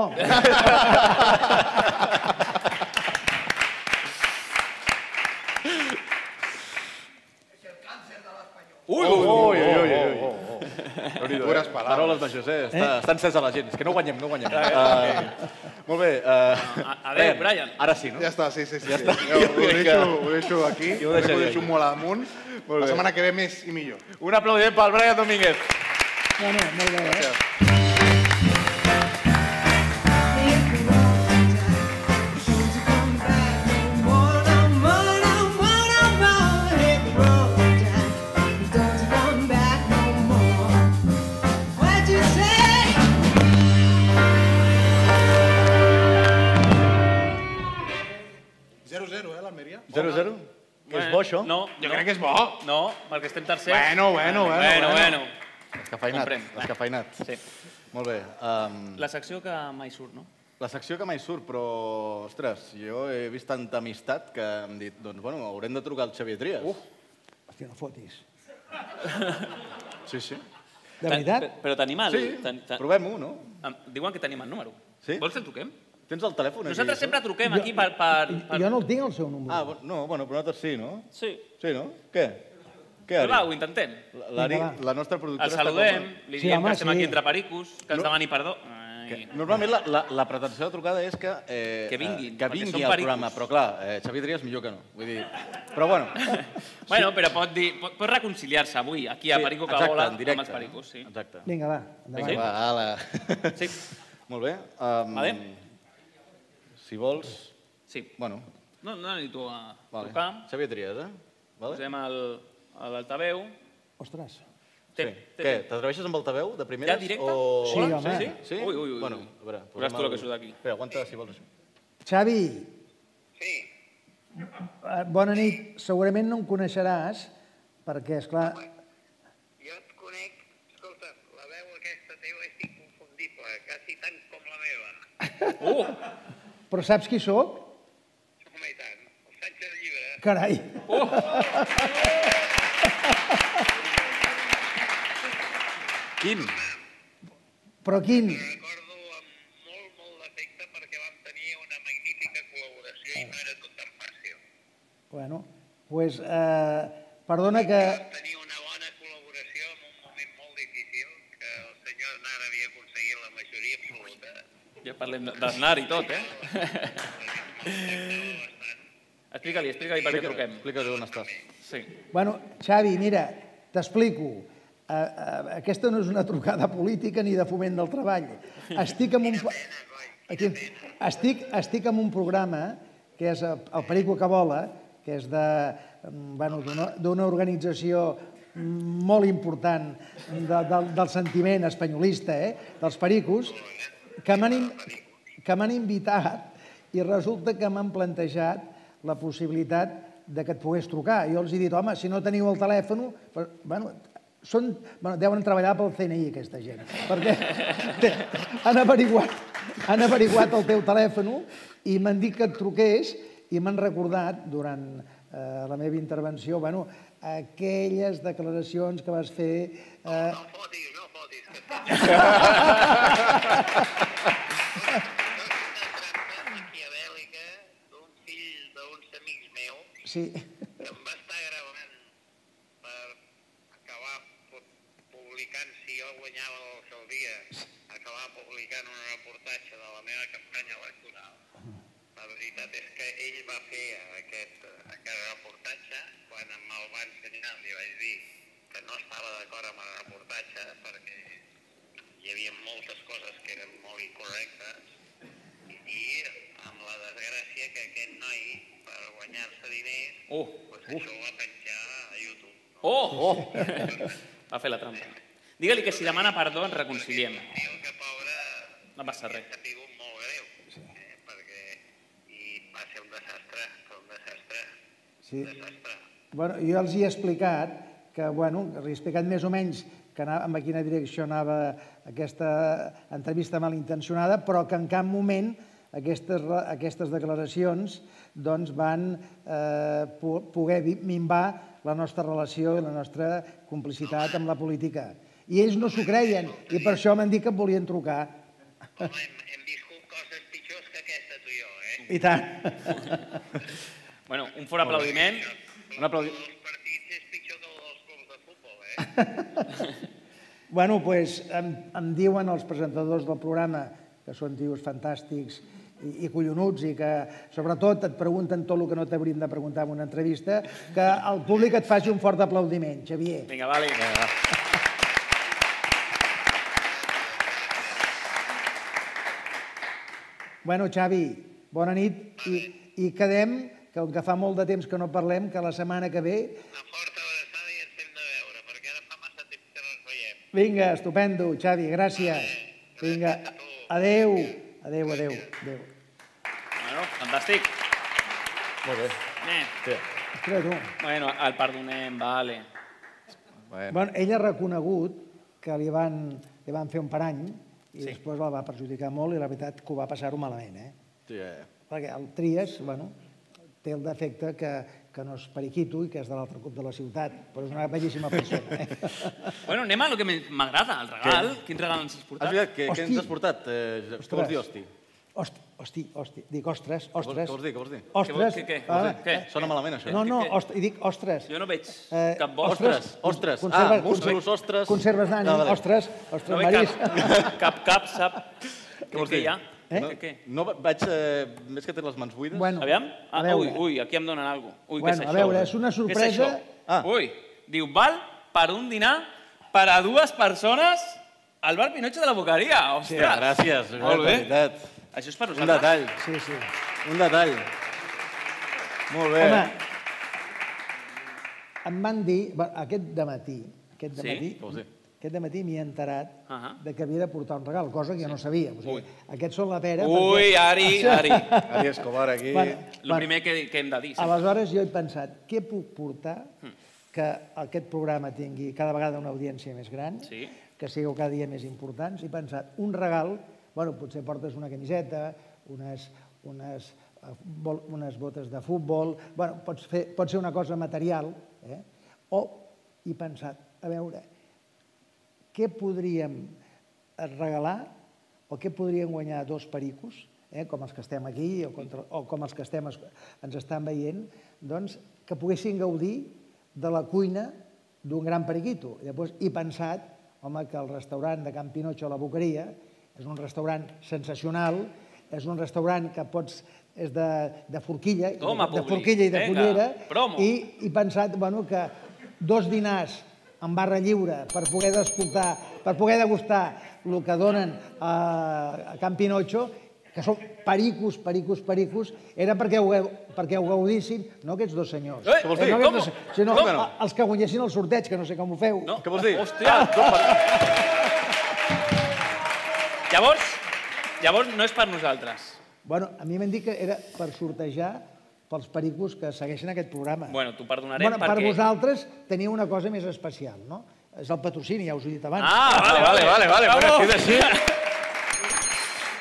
Ui, ui, Oh, ui, ui, ui. ui. Dures paraules. Paroles majors, eh? Està, està encesa la gent. És que no guanyem, no guanyem. Uh, molt bé. Uh, Eh? A- adéu, Brian. Ara sí, no? Ja està, sí, sí, sí. Ja sí. està. Jo, Jo ho, crec deixo, que- ho deixo aquí, Jo ho ho deixo, deixaria aquí. molt amunt. Molt la bé. setmana que ve més i millor. Un aplaudiment pel Brian Domínguez. Bueno, molt bé. Eh? eh, l'Almeria? 0-0. Que és bo, això? No, Jo no, crec que és bo. No, perquè estem tercers. Bueno, bueno, bueno, Bueno, bueno. Escafeinat, Comprem. escafeinat. Sí. Molt bé. Um, La secció que mai surt, no? La secció que mai surt, però, ostres, jo he vist tanta amistat que hem dit, doncs, bueno, haurem de trucar al Xavier Trias. Uh. Hòstia, no fotis. Sí, sí. De Ten- veritat? pe- Però tenim el... Sí, ten- ten- provem-ho, no? em Diuen que tenim el número. Sí? Vols que el truquem? Tens el telèfon aquí? Nosaltres eh? sempre truquem aquí per... per, per... Jo no el tinc, el seu número. Ah, bo- no, bueno, però nosaltres sí, no? Sí. Sí, no? Què? Què, Va, Ari? ho intentem. L'Ari, Vinga, va. la nostra productora... El està com- saludem, li Sí, diem home, que estem sí. aquí entre pericos, que ens No. demani perdó. Que, Ai. normalment la, la, la pretensió de trucada és que... Eh, Que vinguin, eh, que perquè vingui són al pericos. programa, però clar, eh, Xavier Trias millor que no. Vull dir... Però bueno, Bueno, però pot, dir, pot, pot reconciliar-se avui, aquí a Perico que exacte, vola, en directe, amb els pericos. Sí. No? Exacte. Vinga, va, Vinga, endavant. va, ala. Sí. Molt bé. Um, Vale. Si vols... sí. Bueno, No, no necessito a vale. trucar. Xavier Trias, eh? Vale? Posem el- a l'altaveu. Ostres. Té- Sí. té- Què, t'atreveixes amb altaveu de primeres? Ja directe? O... Sí, Hola, home. Sí? Sí? Ui, ui, ui. Bueno, a veure, Veuràs tu el- el que surt aquí. Espera, aguanta, si vols. Xavi. Sí. Bona nit. Segurament no em coneixeràs, perquè, és clar, Jo et conec, escolta, la veu aquesta teva és inconfundible, quasi tant com la meva. Uh, però saps qui sóc? Home, i tant, el Sánchez Llibre. Carai. Quin? Però quin? Recordo amb molt, molt d'afecte perquè vam tenir una magnífica col·laboració i no era tot tan fàcil. Bueno, pues, eh, perdona que... Vam tenir una bona col·laboració en un moment molt difícil, que el senyor Aznar havia aconseguit la majoria absoluta. ja parlem de- d'Aznar i tot, eh? explica-li, explica-li per què truquem. Explica-li on estàs. Sí. Bueno, Xavi, mira, t'explico. Eh, eh, aquesta no és una trucada política ni de foment del treball. Estic amb un... Aquí, estic, estic amb un programa que és el el Perico que vola, que és de, mm, bueno, d'una d'una organització molt important de, del, del sentiment espanyolista, eh? dels pericos, que m'han in- que m'han invitat i resulta que m'han plantejat la possibilitat de que et pogués trucar. Jo els he dit, home, si no teniu el telèfon, però, bueno, són, bueno, deuen treballar pel CNI, aquesta gent, perquè te- han averiguat, han averiguat el teu telèfon i m'han dit que et truqués i m'han recordat durant eh, la meva intervenció, bueno, aquelles declaracions que vas fer... Eh, No fotis, no fotis. Que... una trampa maquiavèlica d'un fill d'uns amics meus sí. que em va estar gravant per acabar pu- publicant, si jo guanyava l'alcaldia, acabar publicant un reportatge de la meva campanya electoral. La veritat és que ell va fer aquest, aquest reportatge, quan me'l va ensenyar li vaig dir que no estava d'acord amb el reportatge perquè hi havia moltes coses que eren molt incorrectes i amb la desgràcia que aquest noi, per guanyar-se diners, Uh, pues això ho va penjar a YouTube. oh, oh. Va fer la trampa. Digue-li que si demana perdó ens reconciliem. Diu que pobre No passa res. s'ha tingut molt greu, eh, perquè i va ser un desastre, un desastre, Sí. un desastre. Bueno, jo els hi he explicat que, bueno, els he explicat més o menys que anava, en quina direcció anava aquesta entrevista malintencionada, però que en cap moment aquestes, re- aquestes declaracions doncs, van eh, po- poder vi- minvar la nostra relació i la nostra complicitat amb la política. I ells no s'ho creien, i per això m'han dit que em volien trucar. Home, hem, hem viscut coses pitjors que aquesta tu i jo, eh? I tant. Bueno, un fort aplaudiment. Un aplaudi... Bueno, pues, em, em diuen els presentadors del programa, que són tios fantàstics i, i collonuts, i que sobretot et pregunten tot el que no t'haurien de preguntar en una entrevista, que el públic et faci un fort aplaudiment, Xavier. Vinga, vale. Bueno, Xavi, bona nit i, i quedem, que com que fa molt de temps que no parlem, que la setmana que ve... Vinga, estupendo, Xavi, gràcies. Vinga, adeu, adeu, adeu, adeu. Bueno, fantàstic. Molt bé. Eh. Ostres, tu. Bueno, el perdonem, vale. Eh. Bueno, ell ha reconegut que li van, li van fer un parany i Sí. després la va perjudicar molt i la veritat que ho va passar-ho malament, eh? Sí, eh. Perquè el Trias, bueno, té el defecte que, que no és periquito i que és de l'altre cop de la ciutat, però és una bellíssima persona. Eh? Bueno, anem a lo que m'e- m'agrada, el regal. Quin regal ens has Has portat? vist que, que Hosti. ens has portat, eh, Josep? Què vols dir, hosti? Hosti, hosti, hosti. Dic, ostres, ostres. Què vols dir, què vols dir? Ostres. Què vols- què- què? Ah, Què? Sona malament, això. No, no, Què- què? ostres, i dic, ostres. Jo no veig Eh, cap bo. Ostres, ostres. Conserves- ah, musclos, ostres. Conserves d'ànim, Ah, vale. ostres, ostres, No veig Marís. cap, cap, cap, sap. Què vols què dir? hi ha? Eh? Què, què? No, va- vaig... Eh, més que té les mans buides. Bueno, Aviam. a Ah, ui, veure. ui, aquí em donen alguna cosa. Ui, què Bueno, és a això? veure, és una Què és això? sorpresa. Ah. Ui, diu, val per un dinar per a dues persones al bar Pinotxo de la Boqueria. Ostres. Hòstia, gràcies. Molt bé. de veritat. Això és per Un nosaltres? detall, Sí, sí. un detall. Molt bé. Home, em van dir, va, aquest dematí, aquest Sí? dematí, Què vols dir? aquest dematí m'hi he enterat Ahà. de que havia de portar un regal, cosa que jo no sabia. O sigui, aquests són la pera. Ui, perquè- Ari, Ari. Ari Escobar aquí. Bueno, El primer que, que hem de dir. Hmm. sí. Aleshores jo he pensat, què puc portar que aquest programa tingui cada vegada una audiència més gran, Sí. que sigueu cada dia més importants, i he pensat, un regal, bueno, potser portes una camiseta, unes, unes, eh, bol- unes botes de futbol, bueno, pots fer, pot ser una cosa material, eh? o he pensat, a veure, què podríem regalar o què podrien guanyar dos pericos, eh, com els que estem aquí o, contra, o com els que estem, es- ens estan veient, doncs, que poguessin gaudir de la cuina d'un gran periquito. I Llavors he pensat, home, que el restaurant de Can Pinotxo a la Boqueria és un restaurant sensacional, és un restaurant que pots és de, de forquilla, Toma, de, de públic, forquilla i de vinga, cullera, promo. i i he pensat bueno, que dos dinars en barra lliure per poder escoltar, per poder degustar el que donen a, a Can Pinotxo, que són pericos, pericos, pericos, era perquè ho, gau- perquè ho gaudissin, no aquests dos senyors, Eh, què vols dir? no, aquests Com? dos, sinó Com? a- els que guanyessin el sorteig, que no sé com ho feu. No. Què vols dir? Hòstia! Llavors, llavors no és per nosaltres. Bueno, a mi m'han dit que era per sortejar pels pericos que segueixen aquest programa. Bueno, t'ho perdonarem Bueno, per perquè- vosaltres teniu una cosa més especial, no? És el patrocini, ja us ho he dit abans. Ah, vale, vale, vale, vale. Bravo. perquè és així.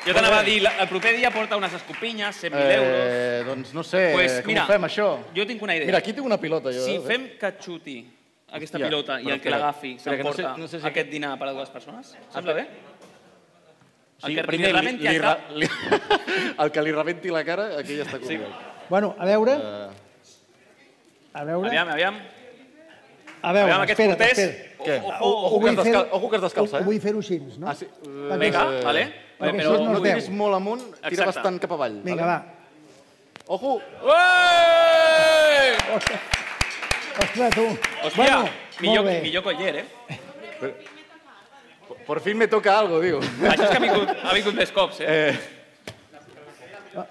Jo t'anava a dir, la- el proper dia porta unes escopinyes, 100.000 euros. Eh, doncs no sé, Pues, com mira, ho fem, això? jo tinc una idea. Mira, aquí tinc una pilota, jo. Si eh? fem que xuti aquesta Hòstia, pilota i però el que espera, l'agafi espera, que no sé- s'emporta no sé si- aquest dinar per a dues persones, sembla bé? Sí, el que primer, li li, lamenti li, el ra- cap. li, el que li rebenti la cara, aquí ja està cobert. Bueno, a veure... Eh, A veure, Aviam, aviam. a veure, aviam, aquests espera, porters. espera. Què? Ojo, Ho ojo, ojo. que vull es descal- fer-ho- ojo que es descalça, ho- eh? Ho vull fer-ho així, no? Ah, sí. eh, Vinga, eh, vale. perquè Però- això no No es tiris veu. molt amunt, tira Exacte. bastant cap avall. Vinga, vale? va. Ojo! Ué! Ostres, tu. Hòstia, millor, molt bé. millor coller, eh? Por fin me toca algo, diu. Això és que ha vingut, ha vingut més cops, eh? Eh,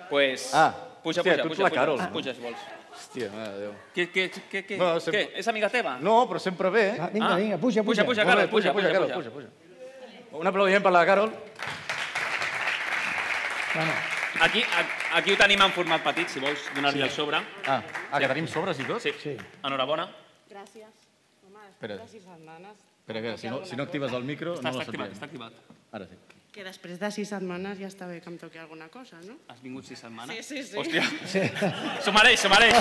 Pues, Ah, puja, hòstia, puja, tu ets puja, la puja, Carol, no? puja, si vols. hòstia, mare de Déu. Què, què, què, què, No, què? sempre- És amiga teva? No, però sempre bé, eh? Va, vinga, Ah. vinga, puja, puja. Puja, puja, Carol, puja, puja, Carol, puja. puja. Un aplaudiment per la Carol. Bueno, Aquí, a- aquí ho tenim en format petit, si vols donar-li el sobre. Ah, ah que tenim sobres i tot? Sí. sí. Enhorabona. Gràcies. Home, Espera. les sis setmanes... Espera, que si no, si no actives el micro, Està, està no la activat, sentirem. està activat. Ara sí. Que després de sis setmanes ja està bé que em toqui alguna cosa, no? Has vingut sis setmanes? Sí, sí, sí. Hòstia. Sí. S'ho mereix, s'ho mereix.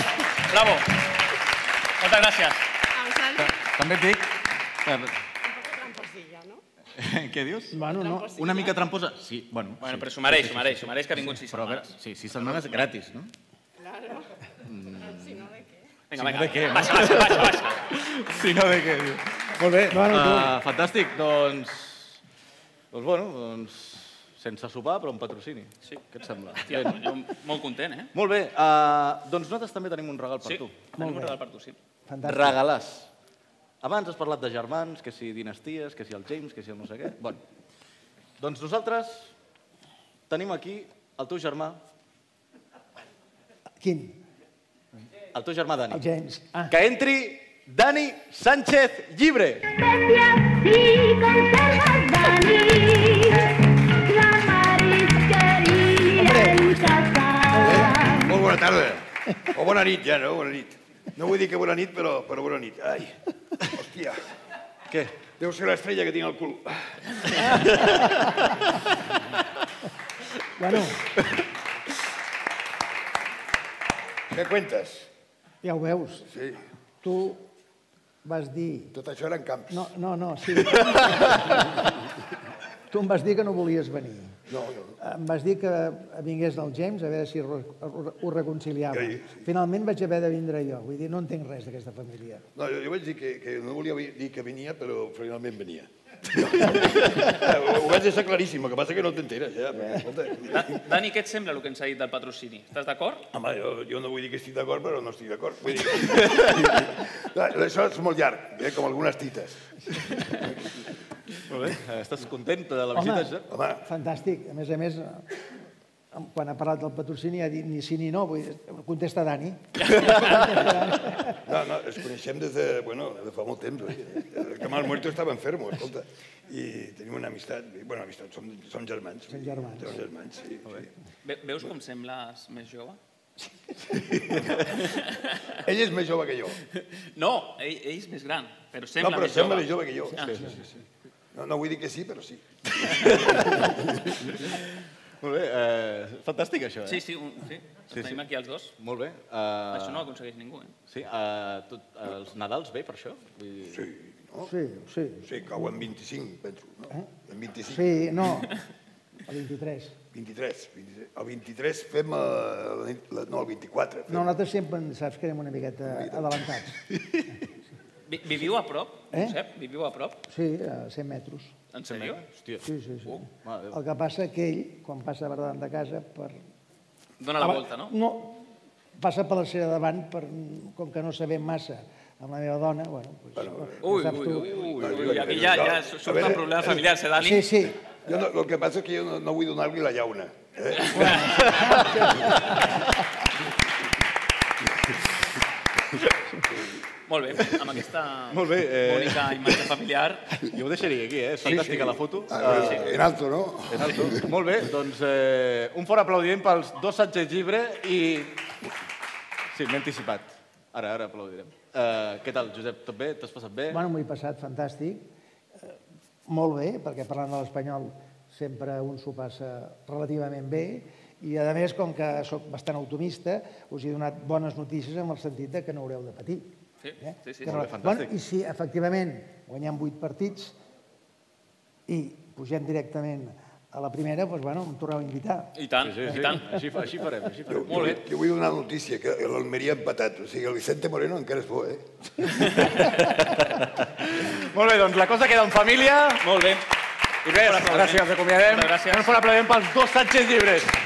Bravo. Moltes gràcies. Em sembla També et dic... un poc tramposilla, no? Què dius? Bueno, no. Tramposilla. Una mica tramposa? Sí, bueno. Bueno, sí. però sumaré, Sí, sí, sumaré, sí. sumaré, és que ha vingut sis Però a veure, setmanes. Sí, sis setmanes gratis, no? Claro. Mm. Si no, ¿de qué? Vinga, Si no, vinga, de què, no? baixa, baixa, baixa, baixa. Si no, de què? diu. Molt bé, Bueno, tu. Ah, fantàstic. Doncs, doncs, bueno, doncs, sense sopar, però un patrocini. Sí. Què et sembla? Hòstia, Bé. jo molt content, eh? Molt bé, uh, doncs nosaltres també tenim un regal per Sí, tu. tenim un regal per tu, sí. Fantàstic. Regalàs. Abans has parlat de germans, que si dinasties, que si el James, que si el no sé què. Bon. Doncs nosaltres tenim aquí el teu germà, Quin? el teu germà Dani. El James. Ah. Que entri Dani Sánchez Llibre. Molt bona tarda. O bona nit, ja, no? Bona nit. No vull dir que bona nit, però, però bona nit. Ai, hòstia. Què? Deu ser l'estrella que tinc al cul. Bueno, Què cuentes? ja ho veus. Sí. Tu vas dir... Tot això eren camps. No, no, no, sí. tu em vas dir que no volies venir. No, no. Em vas dir que vingués el James a veure si ho ho reconciliava. Sí, Finalment vaig haver de vindre jo. Vull dir, no entenc res d'aquesta família. No, jo, jo vaig dir que, que no volia vi- dir que venia, però finalment venia. ho, ho vaig deixar claríssim, el que passa que no t'enteres, ja. Però, escolta, Da- Dani, què et sembla el que ens ha dit del patrocini? Estàs d'acord? Home, jo, jo no vull dir que estic d'acord, però no estic d'acord. Vull dir... Això és molt llarg, eh? com algunes tites. Molt bé. Estàs content de la visita? Home. Home, Fantàstic. A més a més, eh, quan ha parlat del patrocini ha dit ni sí ni no. Vull dir, contesta Dani. No, no, ens coneixem des de, bueno, de fa molt temps. Eh? El que mal muerto estava enfermo, escolta. I tenim una amistat, bueno, amistat, som, som germans. Som germans. Som germans, sí. sí. Ve- Veus com sembles més jove? Ell és més jove que jo. No, ell, ell és més gran, però no, sembla però més jove. sembla més jove que jo. Ah. Sí, sí, sí. No, no vull dir que sí, però sí. Molt bé, eh, fantàstic això, eh? Sí, sí, un, sí. Sí, sí, tenim sí. aquí els dos. Molt bé. Uh, Això no ho aconsegueix ningú, eh? Sí, uh, tot, els Nadals bé per això? Vull dir... Sí, no? Sí, sí. Eh? Oh. Sí, cau en 25, penso, no? En 25. Sí, no. El 23. 23, 23. El 23 fem... eh, la nit- la- no, el 24. Fem. No, nosaltres sempre en saps que anem una miqueta adelantats. Vi, viviu a prop, Eh? Josep? Viviu a prop? Sí, a 100 metres. En sèrio? Uh, Hòstia. Sí, sí, sí. mare de Déu. El que passa que ell, quan passa per davant de casa, per... Dóna la volta, no? No, passa per la seva davant, per, com que no sabem massa amb la meva dona, bueno, doncs, bueno, Ui, saps ui, tu. ui, ui, Ah, ui, ui, eh, aquí ja, ja surt un problema familiar, eh, Dani? Sí, sí, Jo no, el que passa és que jo no, no vull donar-li la llauna. Eh? Ah, Molt bé, amb aquesta Molt bé, eh. bonica imatge familiar. Jo ho deixaria aquí, eh? És fantàstica la foto. Ah, Eh, En alto, no? en alto. Molt bé, doncs eh, un fort aplaudiment pels dos Sánchez Llibre i... Sí, m'he anticipat. Ara, ara aplaudirem. Eh, què tal, Josep? Tot bé? T'has passat bé? bueno, m'ho he passat fantàstic. Eh, Molt bé, perquè parlant de l'espanyol sempre un s'ho passa relativament bé, i a més, com que sóc bastant optimista, us he donat bones notícies en el sentit de que no haureu de patir. Sí, sí, sí. Que no- Molt bé, fantàstic. ¿Eh? Bueno, I si efectivament guanyem vuit partits i pugem directament a la primera, doncs, bueno, em torneu a invitar. I tant, Sí, sí, i tant. Així, fa- així farem, així farem. Molt bé. Jo vull donar notícia, que l'Almeria ha empatat. O sigui, el Vicente Moreno encara és bo, eh? Molt bé, doncs la cosa queda en família. Molt bé. I res, aplaudiment. gràcies, ens acomiadem. Moltes gràcies. Un fort aplaudiment pels dos Sánchez Llibres.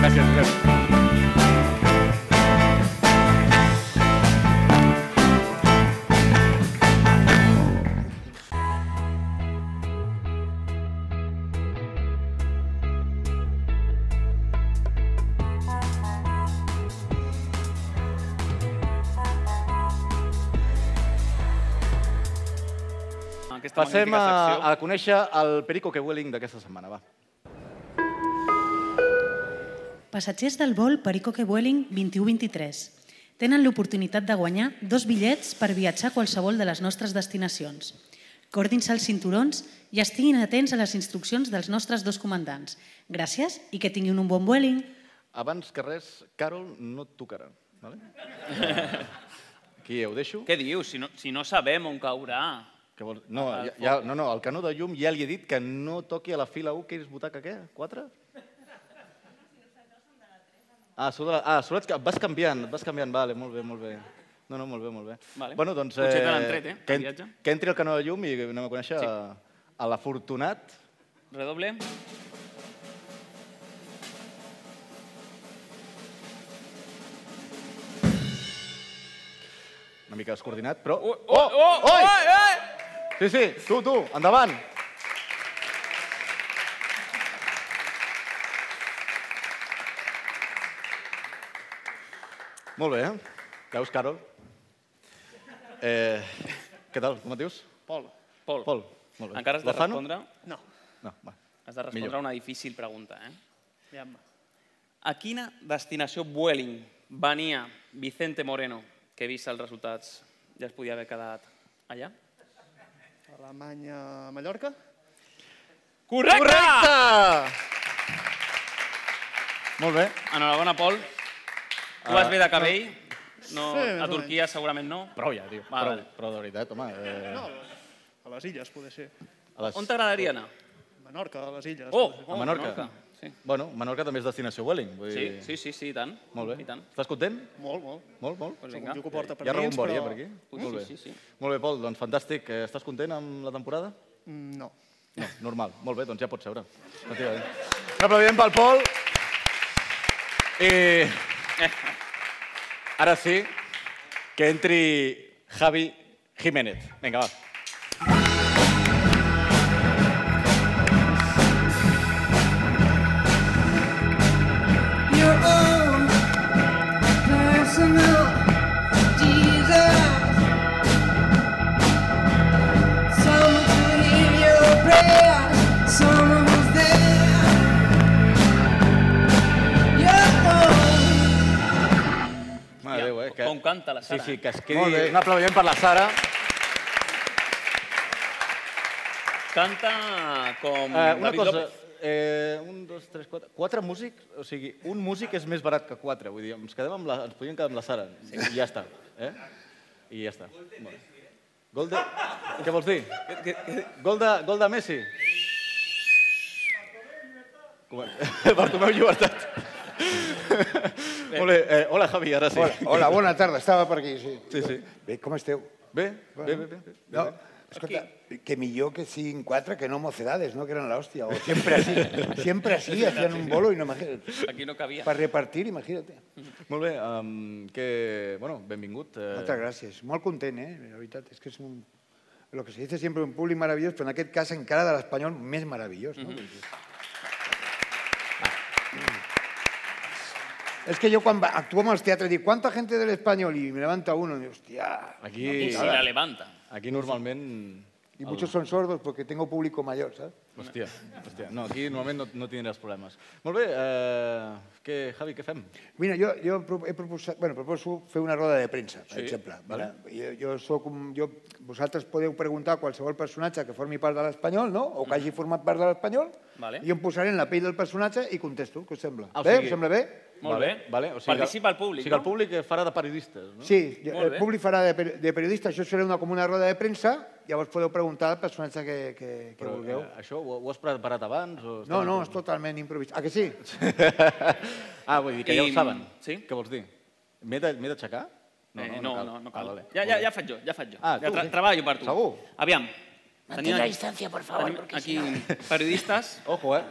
Gràcies, Josep. Aquesta Passem a, magnífica secció. a conèixer el Perico que Welling d'aquesta setmana, va. Passatgers del vol Perico que Vueling 21-23 tenen l'oportunitat de guanyar dos bitllets per viatjar a qualsevol de les nostres destinacions. Cordin-se els cinturons i estiguin atents a les instruccions dels nostres dos comandants. Gràcies i que tinguin un bon vueling. Abans que res, Carol no et tocarà. Vale? Aquí ho deixo. Què dius? Si no, si no sabem on caurà. Que vols... No, ja, ja, no, no, el canó de llum ja li he dit que no toqui a la fila 1, que és butaca què? 4? Ah, surt de la... ah, surt... vas canviant, vas canviant, vale, molt bé, molt bé. No, no, molt bé, molt bé. Vale. Bueno, doncs, Potser te l'han tret, eh, que, el viatge. en, que entri el canó de llum i anem a conèixer Sí. sí. a l'afortunat. Redoble. Una mica descoordinat, però... Uh, Oh, oh, oh, oh, oh, Sí, sí, tu, tu, endavant. Molt bé, eh? Veus, Carol? Eh, què tal, com et dius? Ah. Pol. Pol. Pol, molt bé. Encara has de Lozano? respondre? No. No, va. Has de respondre Millor. a una difícil pregunta, eh? A quina destinació Vueling venia Vicente Moreno, que he vist els resultats, ja es podia haver quedat allà? Alemanya, Mallorca? Correcte! Correcte! Molt bé. Enhorabona, Pol. Tu Ah, vas bé de cabell? No, Sí, més a o Turquia segurament no. Prou ja, tio. Va, prou, vale. prou de veritat, home. Eh, No, a les illes, poder ser. a les- On t'agradaria anar? Menorca, a les illes. Oh, poder ser. A Menorca. Sí. Bueno, Menorca també és destinació Welling. Vull Sí, dir- sí, sí, sí, i tant. Molt bé. I tant. Estàs content? Molt, molt. Molt, molt. Pues vinga. Segur que ho porta per Hi ha dins, rebombori, però- eh, per aquí? Ui, Molt bé. sí, sí, sí. Molt bé, Pol, doncs fantàstic. Eh, Estàs content amb la temporada? Mm, No. No, normal. Molt bé, doncs ja pots seure. Efectivament. Un aplaudiment pel Pol. I eh, ara sí, que entri Javi Jiménez. Vinga, va. Your own personal Jesus. Someone to hear your prayers, someone who's there. Your own. Mare Déu, eh? Que... Com canta la Sara. Sí, sí, que es Molt quedi... bé. Un aplaudiment per la Sara. Canta com Eh, una David cosa, López. eh, un, dos, tres, quatre... Quatre músics, o sigui, un músic és més barat que quatre. Vull dir, ens, quedem amb la, ens podíem quedar amb la Sara. Sí. I ja està. Eh? I ja està. Molt. Gol de... Què vols dir? Gol de, gol de Messi? Com... Bartomeu Llibertat. Molt bé. Eh, hola, Javi, ara sí. Hola, hola, bona tarda, estava per aquí, sí. Sí, sí. Bé, com esteu? Bé, bé, bé, bé. No, escolta, que millor que siguin quatre que no mocedades, no? Que eren l'hòstia. O sempre així, sempre així, hacían un bolo, i no imagina't. Aquí no cabia. Per repartir, imagina't. Molt bé, um, que, bueno, benvingut. Eh, Moltes gràcies. Molt content, eh? La veritat és que és un... Lo que se dice siempre un públic meravellós, però en aquest cas encara de l'espanyol més meravellós. No? Mm-hmm. Es que yo cuando actúo en los teatros digo, ¿cuánta gente del español? Y me levanta uno y digo, hostia. Aquí, I si la levanta. aquí normalment... Y muchos son sordos porque tengo público mayor, ¿sabes? Hòstia, hòstia. No, aquí normalment no, no tindràs problemes. Molt bé, eh, què, Javi, què fem? Mira, jo, jo pro- he proposat, bueno, proposo fer una roda de premsa, per Sí, exemple. vale. Vale? Jo, jo soc un, jo, vosaltres podeu preguntar a qualsevol personatge que formi part de l'Espanyol, no? O que hagi format part de l'Espanyol. Vale. Jo em posaré en la pell del personatge i contesto, què us sembla? Ah, o bé? sigui- Us sembla bé? Molt vale, bé. Vale, o sigui, que- Participa el públic, O sigui, que el no? públic eh, farà de periodistes, no? Sí, jo- Molt el bé. públic farà de, per- de periodista, això serà una, com una roda de premsa, llavors podeu preguntar al personatge que, que, que Però, vulgueu. eh, això ho, ho has preparat abans? O No, estava- no, és totalment improvisat. Ah, que sí? Ah, vull dir que ja ho I- saben. Sí? Què vols dir? M'he de- m'he d'aixecar? Eh, no, cal. no, no Ah, cal. vale. Ja, ja, ja faig jo, ja faig jo. Ah, ja tu, tra sí. treballo per tu. Segur? Aviam. Mantén la distància, por favor, tenim porque aquí si no- periodistes. Ojo, eh?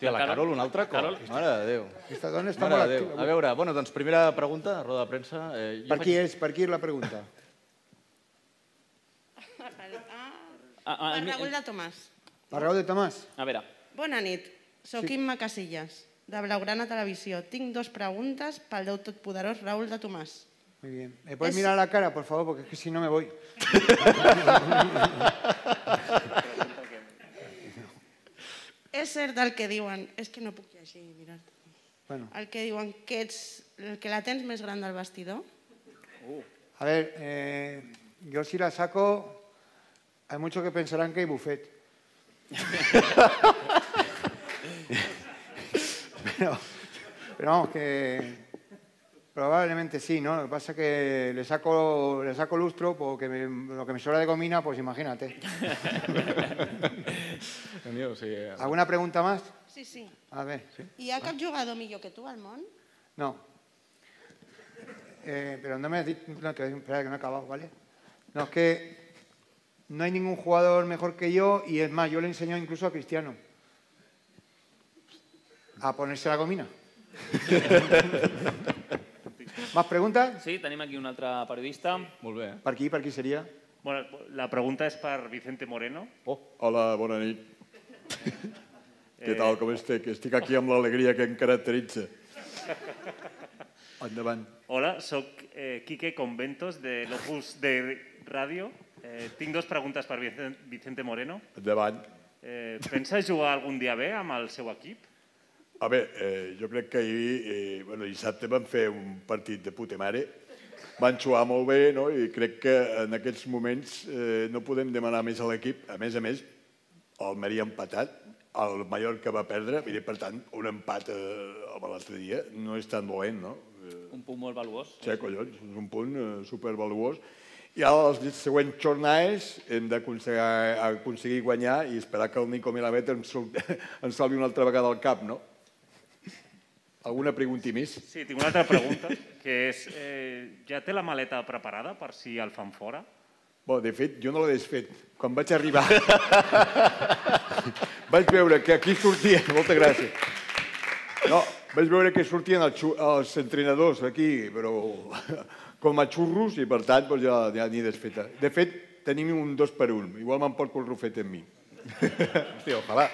Hòstia, la Carol un altre cop. Carol. Mare de Déu. Aquesta dona està Mare molt de Déu. activa A avui. veure, bueno, doncs primera pregunta, roda de premsa. Eh, Per qui és, per qui és la pregunta? Ah, Per Raül de Tomàs. Per raó de Tomàs? A veure. Bona nit, sóc Sí. Imma Casillas, de Blaugrana Televisió. Tinc dos preguntes pel Déu Totpoderós Raül de Tomàs. Muy bien. ¿Me puedes Es- mirar a la cara, por favor? Porque es que si no me voy. És cert el que diuen, és que no puc llegir, mirar bueno, el que diuen que ets el que la tens més gran del vestidor? a ver, eh, yo si la saco, Hay muchos que pensarán que hay buffet. pero, pero vamos, que probablemente sí, ¿no? Lo que pasa es que le saco, le saco lustro porque me- lo que me sobra de comina, pues imagínate. Teniu, sí. eh. ¿Alguna pregunta más? Sí, sí. A ver. Hi ha cap jugador millor que tu al món? No. Eh, pero no me has dicho, no, te voy a decir- espera, que no he acabado, ¿vale? No, es que no hay ningún jugador mejor que yo y es más, yo le he enseñado incluso a Cristiano a ponerse la gomina. ¿Más preguntas? Sí, tenim aquí un altre periodista. Molt bé. Per aquí, per aquí seria? Bueno, la pregunta és per Vicente Moreno. Oh, Hola, bona nit. Què tal, Eh. com estic? Estic aquí amb l'alegria que em caracteritza. Endavant. Hola, soc eh, Quique Conventos de l'Opus de Ràdio. Eh, tinc dues preguntes per Vicen- Vicente Moreno. Endavant. Eh, pensa jugar algun dia bé amb el seu equip? A veure, eh, jo crec que ahir, eh, bueno, dissabte vam fer un partit de puta mare. Van jugar molt bé, no? I crec que en aquests moments eh, no podem demanar més a l'equip. A més a més, el Maria ha empatat, el Mallorca va perdre, i per tant, un empat eh, amb l'altre dia no és tan dolent, no? Eh, Un punt molt valuós. Sí, collons, és un punt eh, supervaluós. I ara les següents jornades hem d'aconseguir aconseguir guanyar i esperar que el Nico Milavet ens, sol- ens salvi una altra vegada al cap, no? Alguna pregunti més? Sí, tinc una altra pregunta, que és, eh, ja té la maleta preparada per si el fan fora? Bon, de fet, jo no l'he desfet. Quan vaig arribar... vaig veure que aquí sortia... Moltes gràcies. No, vaig veure que sortien els, xu- els entrenadors aquí, però com a xurros, i per tant doncs ja, ja n'hi he desfeta. De fet, tenim un dos per un. Igual m'emporto el Rufet amb mi. Hòstia, ojalà.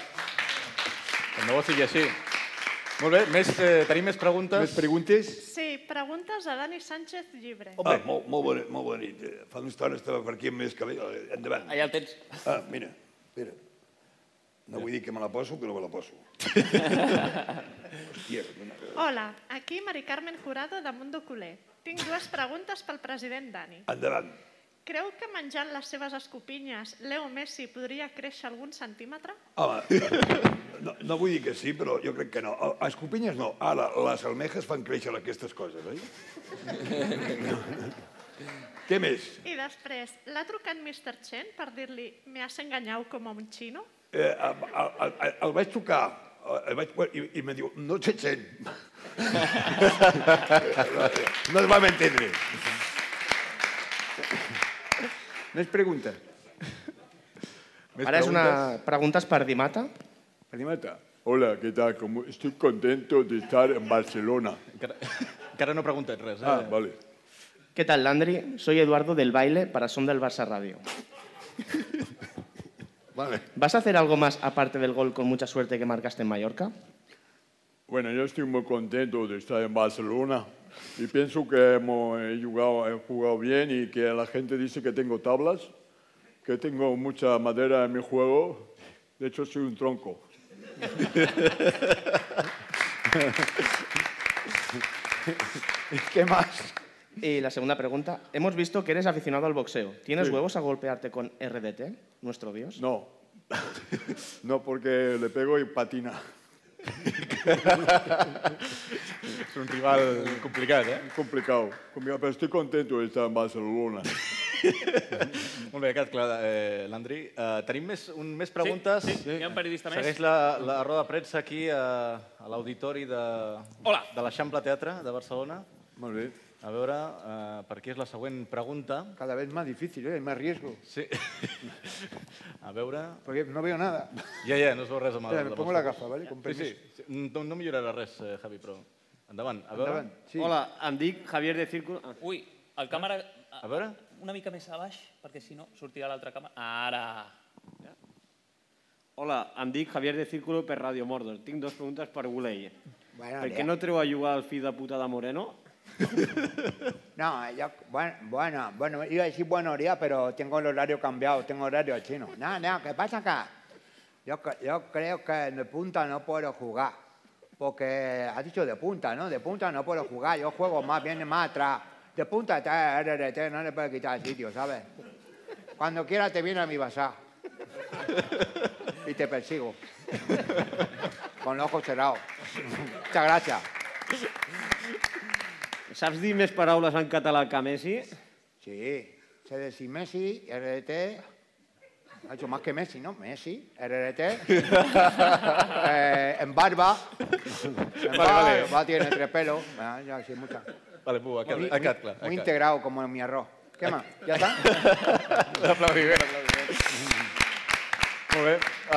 El meu sigui així. Molt bé, més, eh, tenim més preguntes. Més preguntes? Sí, preguntes a Dani Sánchez Llibre. Home, ah, molt, molt, bona, molt bona nit. Eh, Fa una estona estava per aquí amb més cabell. Eh, Endavant. Allà el tens. Ah, mira, mira. No vull dir que me la poso, però me la poso. Hòstia, no- Hola, aquí Mari Carmen Jurado de Mundo Culer. Tinc dues preguntes pel president Dani. endavant. Creu que menjant les seves escopinyes Leo Messi podria créixer algun centímetre? Home, no, no vull dir que sí, però jo crec que no. A- A Escopinyes no. Ara, les almejas fan créixer aquestes coses, oi? No. Què més? I després, l'ha trucat Mr. Chen per dir-li me has enganyat com a un xino? Eh, a- a- a- a- el vaig tocar el vaig, i, i em diu, no et sent. no et vam entendre. Més preguntes? Més Ara és una... preguntes? Preguntes per Dimata. Animata. Hola, què tal? Com... Estic contento de estar en Barcelona. Encara, encara no he preguntat res. Eh? Ah, vale. ¿Qué tal, Landry? Soy Eduardo del Baile para Som del Barça Radio. Vale. ¿Vas a hacer algo más aparte del gol con mucha suerte que marcaste en Mallorca? Bueno, yo estoy muy contento de estar en Barcelona y pienso que hemos eh, jugado, he jugado bien y que la gente dice que tengo tablas, que tengo mucha madera en mi juego. De hecho, soy un tronco. ¿Qué más? Y la segunda pregunta. Hemos visto que eres aficionado al boxeo. ¿Tienes Sí. huevos a golpearte con RDT, nuestro dios? No. No, porque le pego y patina. Es un rival complicado, ¿eh? Complicado. complicado, Pero estoy contento de estar en Barcelona. Molt bé, ha quedat clar, eh, l'Andri. Eh, tenim més, un, més preguntes. Sí, sí, hi ha un periodista més. Segueix la, la roda de premsa aquí a, a l'auditori de, Hola. de l'Eixample Teatre de Barcelona. Molt bé. A veure, eh, per aquí és la següent pregunta. Cada vez más difícil, ¿eh? Hay más riesgo. Sí. A veure... Porque no veo nada. Ja, ja, no es veu res amb el... Espera, me amb pongo els la focus. gafa, ¿vale? Con Sí, sí, permiso. sí. No, no millorarà res, eh, Javi, però... Endavant, a veure. Endavant, sí. Hola. Hola, em dic Javier de Círculo... Ah. Ui, el càmera... A, veure. Una mica més a baix, perquè si no sortirà l'altra càmera. Ara. Hola, em dic Javier de Círculo per Radio Mordor. Tinc dues preguntes per Gulei. Bueno, per ja. què no treu a jugar el fill de puta de Moreno? No, yo, bueno, bueno, bueno, iba a decir buenos días, pero tengo el horario cambiado, tengo horario chino. No, no, ¿qué pasa acá? Yo, cre- yo creo que de punta no puedo jugar, porque has dicho de punta, ¿no? De punta no puedo jugar, yo juego más bien más atrás. De punta está RRT, no le puedo quitar el sitio, ¿sabes? Cuando quiera te viene a mi basá. Y te persigo. Con los ojos cerrados. Muchas gracias. Saps dir més paraules en català que Messi? Sí. Sé decir Messi, RDT. Ha hecho más que Messi, ¿no? Messi, RDT. Eh, en barba. En Vale, vale. barba tiene tres pelos. Ah, Ya, sí, muchas. Vale, pues, ha quedat, Muy- ha quedat clar. Muy integrado como en mi arroz. ¿Qué más? ¿Ya está? Un aplaudiment, un aplaudiment. Molt bé. Uh,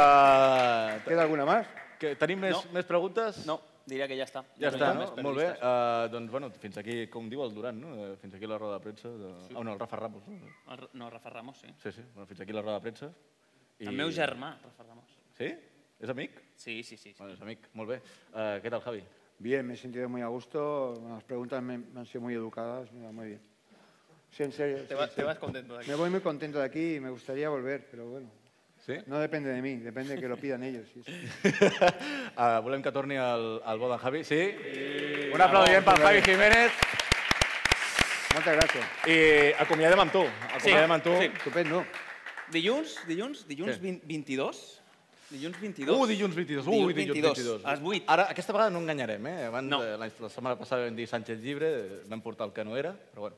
Queda alguna més? Que tenim més, No. més preguntes? No, diria que ja està. Ja No està, hi ha no? més Molt bé. periodistes. Uh, doncs, bueno, fins aquí, com diu el Duran, no? Eh, Fins aquí la roda de premsa. De... Sí. Ah, no, el Rafa Ramos. No? El Ra- No, Rafa Ramos, sí. Sí, sí. Bueno, fins aquí la roda de premsa. El meu germà, Rafa Ramos. Sí? És amic? Sí, sí, sí. Bueno, és amic. Molt bé. Uh, què tal, Javi? Bien, me he sentido muy a gusto. Las preguntas me, me han sido muy educadas, me da muy bien. Sí, en serio. Te sí, va- sí. te vas contento de aquí. Me voy muy contento de aquí y me gustaría volver, pero bueno. ¿Sí? No depende de mí, depende de que lo pidan ellos. sí, sí. Uh, volem que torni al, al bo d'en Javi, sí? sí? Un aplaudiment pel Javi Jiménez. Moltes gràcies. I acomiadem amb tu. Acomiadem amb tu. sí. Estupendo. Dilluns, dilluns, dilluns Què? 20, 22? Dilluns 22? Uh, dilluns 22. Ui, dilluns 22. A les 8. Ara, aquesta vegada no enganyarem, eh? Abans, no. La, la setmana passada vam dir Sánchez Llibre, eh, vam portar el que no era, però bueno.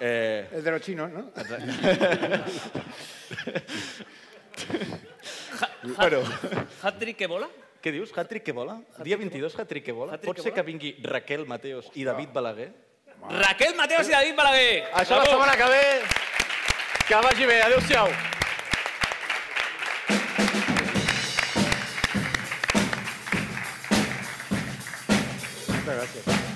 Eh, El de los chinos, ¿no? bueno, Hat-trick que vola? què dius? Hat-trick que vola? Dia 22, hat-trick que vola? Hat-trick Pot que ser vola? que vingui Raquel Mateos i David Balaguer? Raquel Mateos i David Balaguer. Això la setmana que ve. Que vagi bé. Adéu-siau. Muchas gracias.